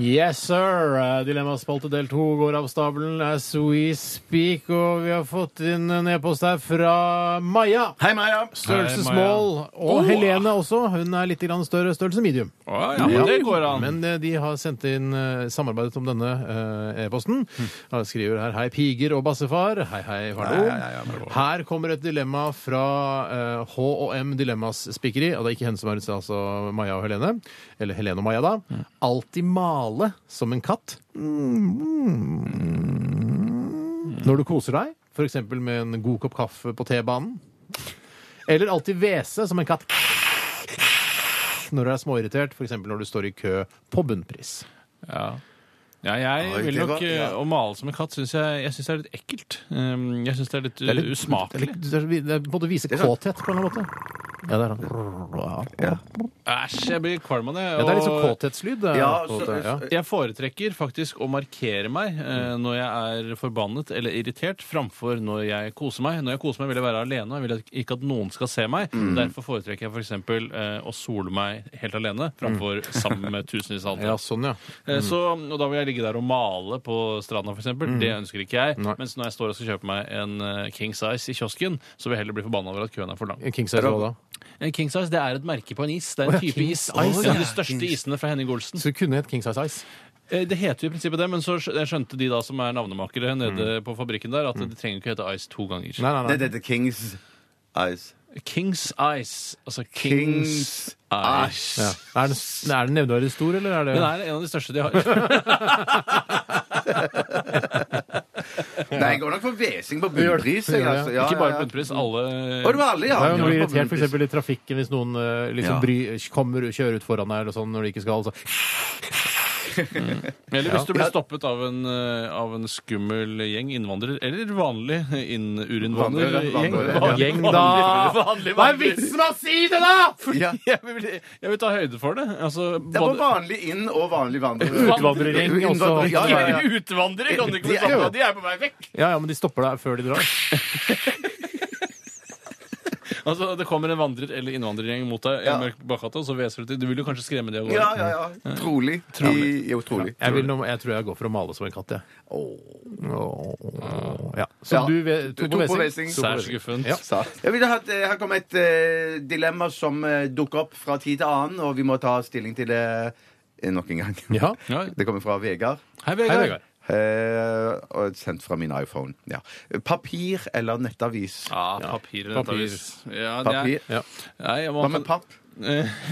[SPEAKER 16] Yes, sir! Eh, Dilemmaspalte del to går av stabelen as we speak, og vi har fått inn en e-post her fra Maja.
[SPEAKER 5] Hei, Maja.
[SPEAKER 16] Størrelsesmål. Og
[SPEAKER 8] Åh!
[SPEAKER 16] Helene også. Hun er litt grann større. Størrelse medium.
[SPEAKER 8] ja, men det går an.
[SPEAKER 16] Men eh, de har sendt inn eh, samarbeidet om denne eh, e-posten.
[SPEAKER 8] Hm.
[SPEAKER 16] Her Skriver her 'Hei, piger og bassefar'. Hei, hei, hallo.
[SPEAKER 18] Hei, hei, hei,
[SPEAKER 16] Her kommer et dilemma fra eh, H&M Dilemmas Spikkeri. Og det er ikke henne som er ute, altså Maja og Helene. Eller Helene og Maja, da. Alltid male som en katt.
[SPEAKER 8] Mm.
[SPEAKER 16] Når du koser deg, f.eks. med en god kopp kaffe på T-banen. Eller alltid hvese som en katt når du er småirritert, f.eks. når du står i kø på bunnpris.
[SPEAKER 8] Ja. Ja, jeg
[SPEAKER 16] Oi,
[SPEAKER 8] vil
[SPEAKER 16] det
[SPEAKER 8] nok
[SPEAKER 16] var-
[SPEAKER 8] eh,
[SPEAKER 16] ja.
[SPEAKER 8] Å male som en katt syns jeg, jeg synes det er litt ekkelt. Um, jeg syns det er litt,
[SPEAKER 16] Det er litt-
[SPEAKER 8] usmakelig.
[SPEAKER 16] Det er, litt- det er både vise kåthet på en eller annen måte. Ja, det er sånn
[SPEAKER 8] Æsj, jeg blir kvalm av det.
[SPEAKER 16] Ja, det er litt sånn
[SPEAKER 8] og-
[SPEAKER 16] kåthetslyd, det er
[SPEAKER 8] Ja,
[SPEAKER 16] på en måte,
[SPEAKER 8] så-
[SPEAKER 16] ja.
[SPEAKER 8] Jeg foretrekker faktisk å markere meg eh,
[SPEAKER 16] Mm.
[SPEAKER 8] når jeg er forbannet eller irritert, framfor når jeg koser meg. Når jeg koser meg, vil jeg være alene. Jeg vil at- ikke at noen skal se meg.
[SPEAKER 16] Mm.
[SPEAKER 8] Derfor foretrekker jeg f.eks. Eh, å sole meg helt alene framfor sammen med tusenvis av andre.
[SPEAKER 16] Mm. Ja, sånn, ja.
[SPEAKER 8] Eh,
[SPEAKER 16] Mm.
[SPEAKER 8] Så, og da vil jeg ligge der og male på stranda, f.eks. eksempel.
[SPEAKER 16] Mm.
[SPEAKER 8] Det ønsker ikke jeg. Mens når jeg står og skal kjøpe meg en eh, King Size i kiosken, så vil jeg heller bli forbanna over at køen er for lang.
[SPEAKER 16] En King Size hva da?
[SPEAKER 8] En King Size det er et merke på en is. Det
[SPEAKER 16] Å
[SPEAKER 8] er en
[SPEAKER 16] ja,
[SPEAKER 8] type
[SPEAKER 16] King
[SPEAKER 8] is.
[SPEAKER 16] Size,
[SPEAKER 8] en
[SPEAKER 16] ja.
[SPEAKER 8] av de største isene fra Henning Olsen.
[SPEAKER 16] Så det kunne hett King Size Ice.
[SPEAKER 8] Eh, Det heter jo i prinsippet det, men så skj- skjønte de da som er navnemakere nede
[SPEAKER 16] Mm.
[SPEAKER 8] på fabrikken der, at det trenger ikke hete Ice to ganger.
[SPEAKER 5] Nei, nei, nei. Det heter Kings Ice.
[SPEAKER 8] Kings Ice. Altså
[SPEAKER 5] Kings
[SPEAKER 8] Kings, Ice.
[SPEAKER 16] Ja. Er den, er den nevneverdig stor, eller er det
[SPEAKER 8] Den er en av de største de har.
[SPEAKER 5] Nei, jeg går nok for hvesing på bunnpris. jeg, altså. Ja,
[SPEAKER 8] Ikke bare
[SPEAKER 5] ja, ja.
[SPEAKER 8] bunnpris, alle
[SPEAKER 5] Å, det var alle, ja.
[SPEAKER 16] Det er jo når du
[SPEAKER 5] Ja,
[SPEAKER 16] blir
[SPEAKER 5] på
[SPEAKER 16] irritert for
[SPEAKER 5] bunnpris.
[SPEAKER 16] eksempel i trafikken hvis noen eh, liksom
[SPEAKER 8] Ja.
[SPEAKER 16] bry, kommer og kjører ut foran deg eller sånn når de ikke skal. Så.
[SPEAKER 8] Eller
[SPEAKER 16] Ja.
[SPEAKER 8] hvis du blir
[SPEAKER 16] Ja.
[SPEAKER 8] stoppet av en, eh, av en skummel gjeng innvandrere, eller vanlig
[SPEAKER 16] Vandrer,
[SPEAKER 8] innurinnvandrergjeng.
[SPEAKER 16] vandrer, ja. Gjeng, da! Hva er vitsen med å si det, da?!
[SPEAKER 8] Jeg, vil, jeg vil ta høyde for det. Altså,
[SPEAKER 5] Det er på vanlig inn- og vanlig vandrer.
[SPEAKER 16] Utvandrering også.
[SPEAKER 5] Utvandrer- Ja, ja, ja.
[SPEAKER 8] Utvandrere kan du ikke bli
[SPEAKER 5] De er jo-
[SPEAKER 8] stoppet av, de er på vei vekk!
[SPEAKER 16] Ja, ja, men de stopper deg før de drar.
[SPEAKER 8] Altså, Det kommer en vandrer- eller innvandrergjeng mot deg i en mørk bakgata, og så hveser du til Du vil jo kanskje skremme de av gårde.
[SPEAKER 5] Ja, ja, ja. Trolig. I- Jo, trolig.
[SPEAKER 16] Jeg, vil, nå- jeg tror jeg går for å male som en katt, jeg. Åh. Ja. Så
[SPEAKER 5] Ja.
[SPEAKER 16] du ve- to på
[SPEAKER 5] Wessing.
[SPEAKER 16] Wessing?
[SPEAKER 8] Særs guffent.
[SPEAKER 16] Ja.
[SPEAKER 5] Jeg ville hatt, eh, her kommer et eh, dilemma som eh, dukker opp fra tid til annen, og vi må ta stilling til det eh, nok en gang. Det kommer fra Vegard.
[SPEAKER 8] Hei, Vegard. Hei, Vegard.
[SPEAKER 5] Eh, og sendt fra min iPhone. Ja. Papir eller nettavis?
[SPEAKER 8] Ja, papir eller
[SPEAKER 5] Papir.
[SPEAKER 8] nettavis. Ja, det
[SPEAKER 5] Papir.
[SPEAKER 8] er- Nei, jeg må-
[SPEAKER 5] Hva med papp?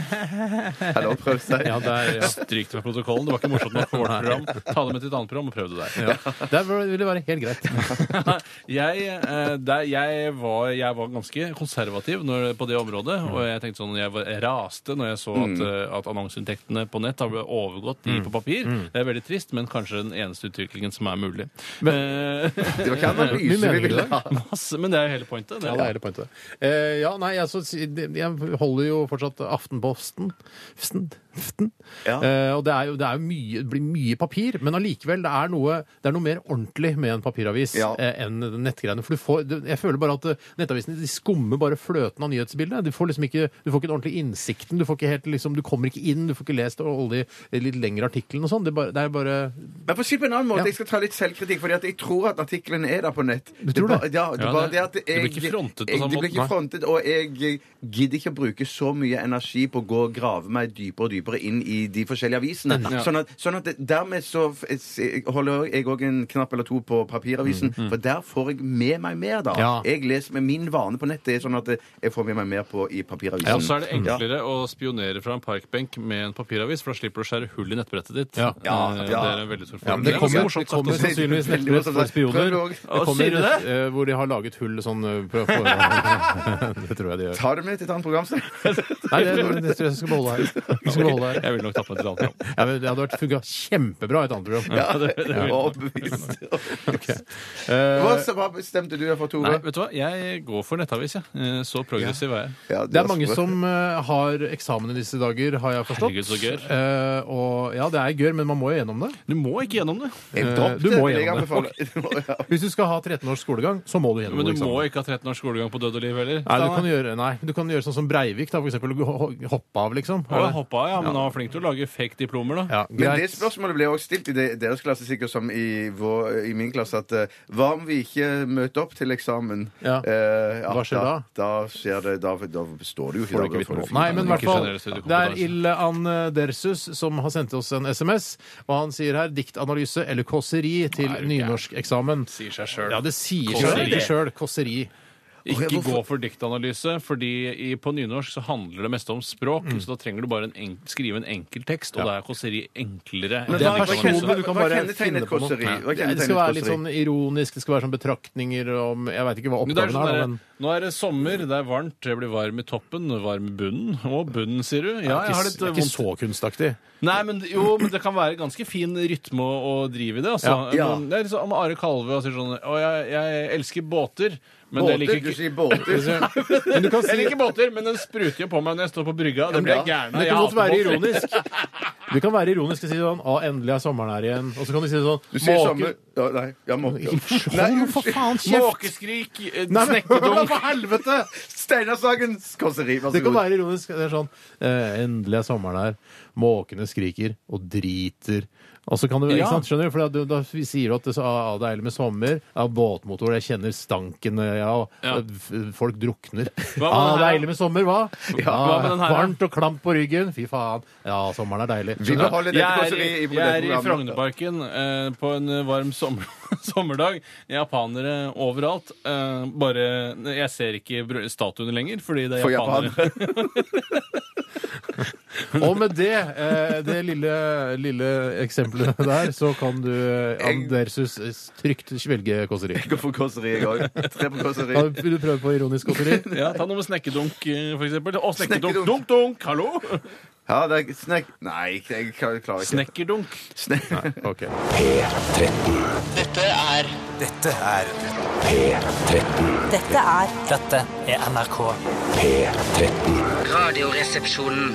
[SPEAKER 5] Er det å prøve seg?
[SPEAKER 8] Ja, det er, ja. Stryk det fra protokollen. Det var ikke morsomt nok for vårt program. Ta det med til et annet program og prøv det der.
[SPEAKER 16] Det ville være helt greit.
[SPEAKER 8] Jeg, eh, der, jeg, var, jeg var ganske konservativ når, på det området. Og jeg tenkte sånn, jeg var, jeg raste når jeg så at,
[SPEAKER 16] Mm.
[SPEAKER 8] eh, at annonseinntektene på nett har overgått de
[SPEAKER 16] Mm.
[SPEAKER 8] på papir.
[SPEAKER 16] Mm.
[SPEAKER 8] Det er veldig trist, men kanskje den eneste utviklingen som er mulig. Eh,
[SPEAKER 16] Det var ikke analyse Mye mening vi ville i dag. ha.
[SPEAKER 8] Masse, men det er jo hele pointet.
[SPEAKER 16] Ja, det er hele pointet. Eh, ja, nei, altså, si- det- jeg holder jo fortsatt Aftenposten. Fsten. heften. Eh, og det, er jo, det, er jo mye, det blir mye papir, men allikevel, det er noe, det er noe mer ordentlig med en papiravis
[SPEAKER 19] Ja.
[SPEAKER 16] eh, enn nettgreiene. For du får, du- jeg føler bare at eh, nettavisene de skummer bare fløten av nyhetsbildet. Du får liksom ikke, du får ikke den ordentlige innsikten, du, får ikke helt, liksom, du kommer ikke inn, du får ikke lest alle de litt lengre artiklene og sånn. Det, er bare- det er bare
[SPEAKER 5] Men for å si det på en annen måte,
[SPEAKER 16] Ja.
[SPEAKER 5] jeg skal ta litt selvkritikk, fordi at jeg tror at artiklene er der på nett. Du
[SPEAKER 16] tror det?
[SPEAKER 5] Ja, det,
[SPEAKER 16] Ja,
[SPEAKER 5] er bare
[SPEAKER 16] det-
[SPEAKER 5] det at
[SPEAKER 16] det
[SPEAKER 5] jeg,
[SPEAKER 16] blir ikke frontet på
[SPEAKER 5] jeg,
[SPEAKER 16] samme
[SPEAKER 5] Det blir
[SPEAKER 16] måte, nei.
[SPEAKER 5] ikke frontet, og jeg gidder ikke å bruke så mye energi på å gå og grave meg dypere og dypere inn i de forskjellige avisene.
[SPEAKER 19] Nei. Ja.
[SPEAKER 5] Sånn, at, sånn at dermed så f- s- holder jeg òg en knapp eller to på papiravisen,
[SPEAKER 19] Mm, mm.
[SPEAKER 5] for der får jeg med meg mer, da.
[SPEAKER 8] Ja.
[SPEAKER 5] Jeg leser med min vane på nettet, er sånn at jeg får med meg mer på i papiravisen.
[SPEAKER 8] Ja, og så er det
[SPEAKER 16] Mm.
[SPEAKER 5] Ja.
[SPEAKER 8] enklere å spionere fra en parkbenk med en papiravis, for da slipper du å skjære hull i nettbrettet ditt.
[SPEAKER 16] Ja.
[SPEAKER 8] Eh, Det
[SPEAKER 16] Ja.
[SPEAKER 8] er en veldig stor
[SPEAKER 16] Ja, men det
[SPEAKER 8] fordel.
[SPEAKER 16] kommer,
[SPEAKER 8] Morsomt
[SPEAKER 16] det kommer
[SPEAKER 8] sagt også.
[SPEAKER 16] sannsynligvis
[SPEAKER 8] Veldig
[SPEAKER 16] nettbrett
[SPEAKER 8] morsomt
[SPEAKER 16] for
[SPEAKER 8] sagt.
[SPEAKER 16] spioner.
[SPEAKER 8] Prøv å-
[SPEAKER 16] Det
[SPEAKER 8] Å,
[SPEAKER 16] kommer
[SPEAKER 8] sier du
[SPEAKER 16] nett,
[SPEAKER 8] det?
[SPEAKER 16] eh, hvor de har laget hull sånn eh, for å få Det tror jeg de gjør.
[SPEAKER 5] Tar det med til et annet program, så.
[SPEAKER 16] Nei, det, det tror jeg vi skal beholde her. Vi skal beholde her.
[SPEAKER 8] Jeg vil nok tappe et eller annet.
[SPEAKER 16] Ja, men det hadde vært funka kjempebra i et annet program.
[SPEAKER 8] Ja, det- det vil-
[SPEAKER 5] Overbevist.
[SPEAKER 16] Ok.
[SPEAKER 5] Hva,
[SPEAKER 16] Eh,
[SPEAKER 5] hva bestemte du deg for, Tore?
[SPEAKER 8] Nei, vet du hva? Jeg går for nettavis, jeg. Eh, Så progressiv er jeg.
[SPEAKER 16] det er mange som eh, har eksamen i disse dager, har jeg forstått.
[SPEAKER 8] Herregud, så gørr.
[SPEAKER 16] Eh, og, ja, det er gørr, men man må jo gjennom det.
[SPEAKER 8] Du må ikke gjennom det.
[SPEAKER 16] Eh,
[SPEAKER 8] Dropp
[SPEAKER 16] du
[SPEAKER 8] det,
[SPEAKER 16] må
[SPEAKER 8] vil jeg
[SPEAKER 16] gjennom det.
[SPEAKER 8] anbefale.
[SPEAKER 16] Ok. Hvis du skal ha 13 års skolegang, så må du gjennom
[SPEAKER 8] Men du
[SPEAKER 16] eksamen.
[SPEAKER 8] må ikke ha 13 års skolegang på død og liv heller.
[SPEAKER 16] Nei, du kan gjøre, nei, du kan gjøre sånn som Breivik, da, for eksempel. ho- Hoppe av, liksom.
[SPEAKER 8] Å, jeg hoppa, ja, men han var flink til å lage fake diplomer, da.
[SPEAKER 5] Men det spørsmålet ble også stilt i de- deres klasse, sikkert som i, vår, i min klasse, at eh, hva om vi ikke møter opp til eksamen?
[SPEAKER 16] Ja.
[SPEAKER 5] Eh, ja,
[SPEAKER 16] Hva skjer da?
[SPEAKER 5] Da, skjer det, da, da står du jo ikke
[SPEAKER 16] Får du ikke
[SPEAKER 5] da får
[SPEAKER 16] vitnemål.
[SPEAKER 5] du
[SPEAKER 16] Nei, men i hvert
[SPEAKER 5] ikke
[SPEAKER 16] fall,
[SPEAKER 5] generell
[SPEAKER 16] det
[SPEAKER 5] studiekompetanse.
[SPEAKER 16] er Ilhan Dersus som har sendt oss en SMS, og han sier her diktanalyse eller kåseri til nynorskeksamen.
[SPEAKER 8] Sier seg sjøl.
[SPEAKER 16] Ja, det sier
[SPEAKER 8] Kåseri.
[SPEAKER 16] seg sjøl. Kåseri.
[SPEAKER 8] Ikke
[SPEAKER 16] Hvorfor-
[SPEAKER 8] gå for diktanalyse, fordi i, på nynorsk så handler det meste om språk.
[SPEAKER 16] Mm.
[SPEAKER 8] Så da trenger du bare en enk, skrive en enkel tekst, og da er kåseri enklere.
[SPEAKER 16] Men
[SPEAKER 8] enn
[SPEAKER 16] hva er
[SPEAKER 8] diktanalyse.
[SPEAKER 16] personlig? Du kan bare finne på noe. Nei.
[SPEAKER 8] Ja,
[SPEAKER 16] Det skal være litt sånn ironisk, det skal være sånn betraktninger om Jeg veit ikke hva
[SPEAKER 8] Men det er
[SPEAKER 16] oppgaven
[SPEAKER 8] sånn
[SPEAKER 16] er, da,
[SPEAKER 8] der,
[SPEAKER 16] men
[SPEAKER 8] Nå er det sommer, det er varmt, jeg blir varm i toppen, varm i bunnen. Og bunnen, sier du? Ja, jeg har litt
[SPEAKER 16] det er ikke
[SPEAKER 8] vondt.
[SPEAKER 16] så kunstaktig.
[SPEAKER 8] Nei, men jo, men det kan være ganske fin rytme og, og driv i det. Altså.
[SPEAKER 16] Ja. Ja.
[SPEAKER 8] Men det er liksom om Are Kalve og sier sånn Å, jeg, jeg elsker båter. Men
[SPEAKER 5] Båter?
[SPEAKER 8] jeg liker
[SPEAKER 5] Du
[SPEAKER 8] ikke
[SPEAKER 5] sier båter.
[SPEAKER 16] Men du kan si-
[SPEAKER 8] Jeg liker båter, men den spruter jo på meg når jeg står på brygga. Det
[SPEAKER 16] men
[SPEAKER 8] blir jeg
[SPEAKER 16] ja,
[SPEAKER 8] gæren
[SPEAKER 16] men
[SPEAKER 8] av.
[SPEAKER 16] det
[SPEAKER 8] Jeg
[SPEAKER 16] kan godt
[SPEAKER 8] hater
[SPEAKER 16] være
[SPEAKER 8] båter.
[SPEAKER 16] ironisk. Du kan være ironisk og si sånn Å, endelig er sommeren her igjen. Og så kan du si sånn
[SPEAKER 5] Du sier
[SPEAKER 16] «Måke-
[SPEAKER 5] sommer... Ja, nei, ja, måke.
[SPEAKER 16] Hold nå for faen kjeft!
[SPEAKER 8] Måkeskrik,
[SPEAKER 16] Nei, men hør da,
[SPEAKER 8] snekkerdunk
[SPEAKER 16] for helvete!
[SPEAKER 5] Steinar Sagens kåseri, vær
[SPEAKER 16] Det
[SPEAKER 5] så
[SPEAKER 16] kan
[SPEAKER 5] god.
[SPEAKER 16] være ironisk. Det er sånn eh, Endelig er sommeren her. Måkene skriker og driter. Og så kan du,
[SPEAKER 8] Ja.
[SPEAKER 16] ikke sant, skjønner du? For da, da sier du at det, så, ah, det er deilig med sommer. Ja, båtmotor, jeg kjenner stanken, eh, ja, og
[SPEAKER 8] Ja.
[SPEAKER 16] f- folk drukner.
[SPEAKER 8] med
[SPEAKER 16] Ja, ah,
[SPEAKER 8] den her,
[SPEAKER 16] deilig med sommer, hva? Ja,
[SPEAKER 8] Hva med den her, da?
[SPEAKER 16] varmt og klamt på ryggen. Fy faen. Ja, sommeren er deilig.
[SPEAKER 8] Jeg
[SPEAKER 16] Skjønner du?
[SPEAKER 8] er, i- jeg er i Frognerparken eh, på en varm sommer, sommerdag. Japanere overalt. Eh, bare Jeg ser ikke br- statuene lenger, fordi det er
[SPEAKER 16] For
[SPEAKER 8] japanere.
[SPEAKER 16] Og med det, eh, det lille, lille eksempelet der, så kan du eh, Andersus eh, trygt velge kåseri. Jeg
[SPEAKER 5] går for kåseri, jeg òg. Tre på kåseri.
[SPEAKER 16] Da vil du prøve på ironisk kåseri?
[SPEAKER 8] ja, ta noe med snekkerdunk, eh, for eksempel. Å, snekkerdunk! Dunk, dunk! Hallo!
[SPEAKER 5] Ja, det er snek... Nei, jeg klarer ikke.
[SPEAKER 8] Snekkerdunk.
[SPEAKER 5] Nei,
[SPEAKER 16] ok.
[SPEAKER 13] Dette er Dette er
[SPEAKER 1] P13.
[SPEAKER 13] Dette er Dette er NRK.
[SPEAKER 1] P13.
[SPEAKER 13] Radioresepsjonen.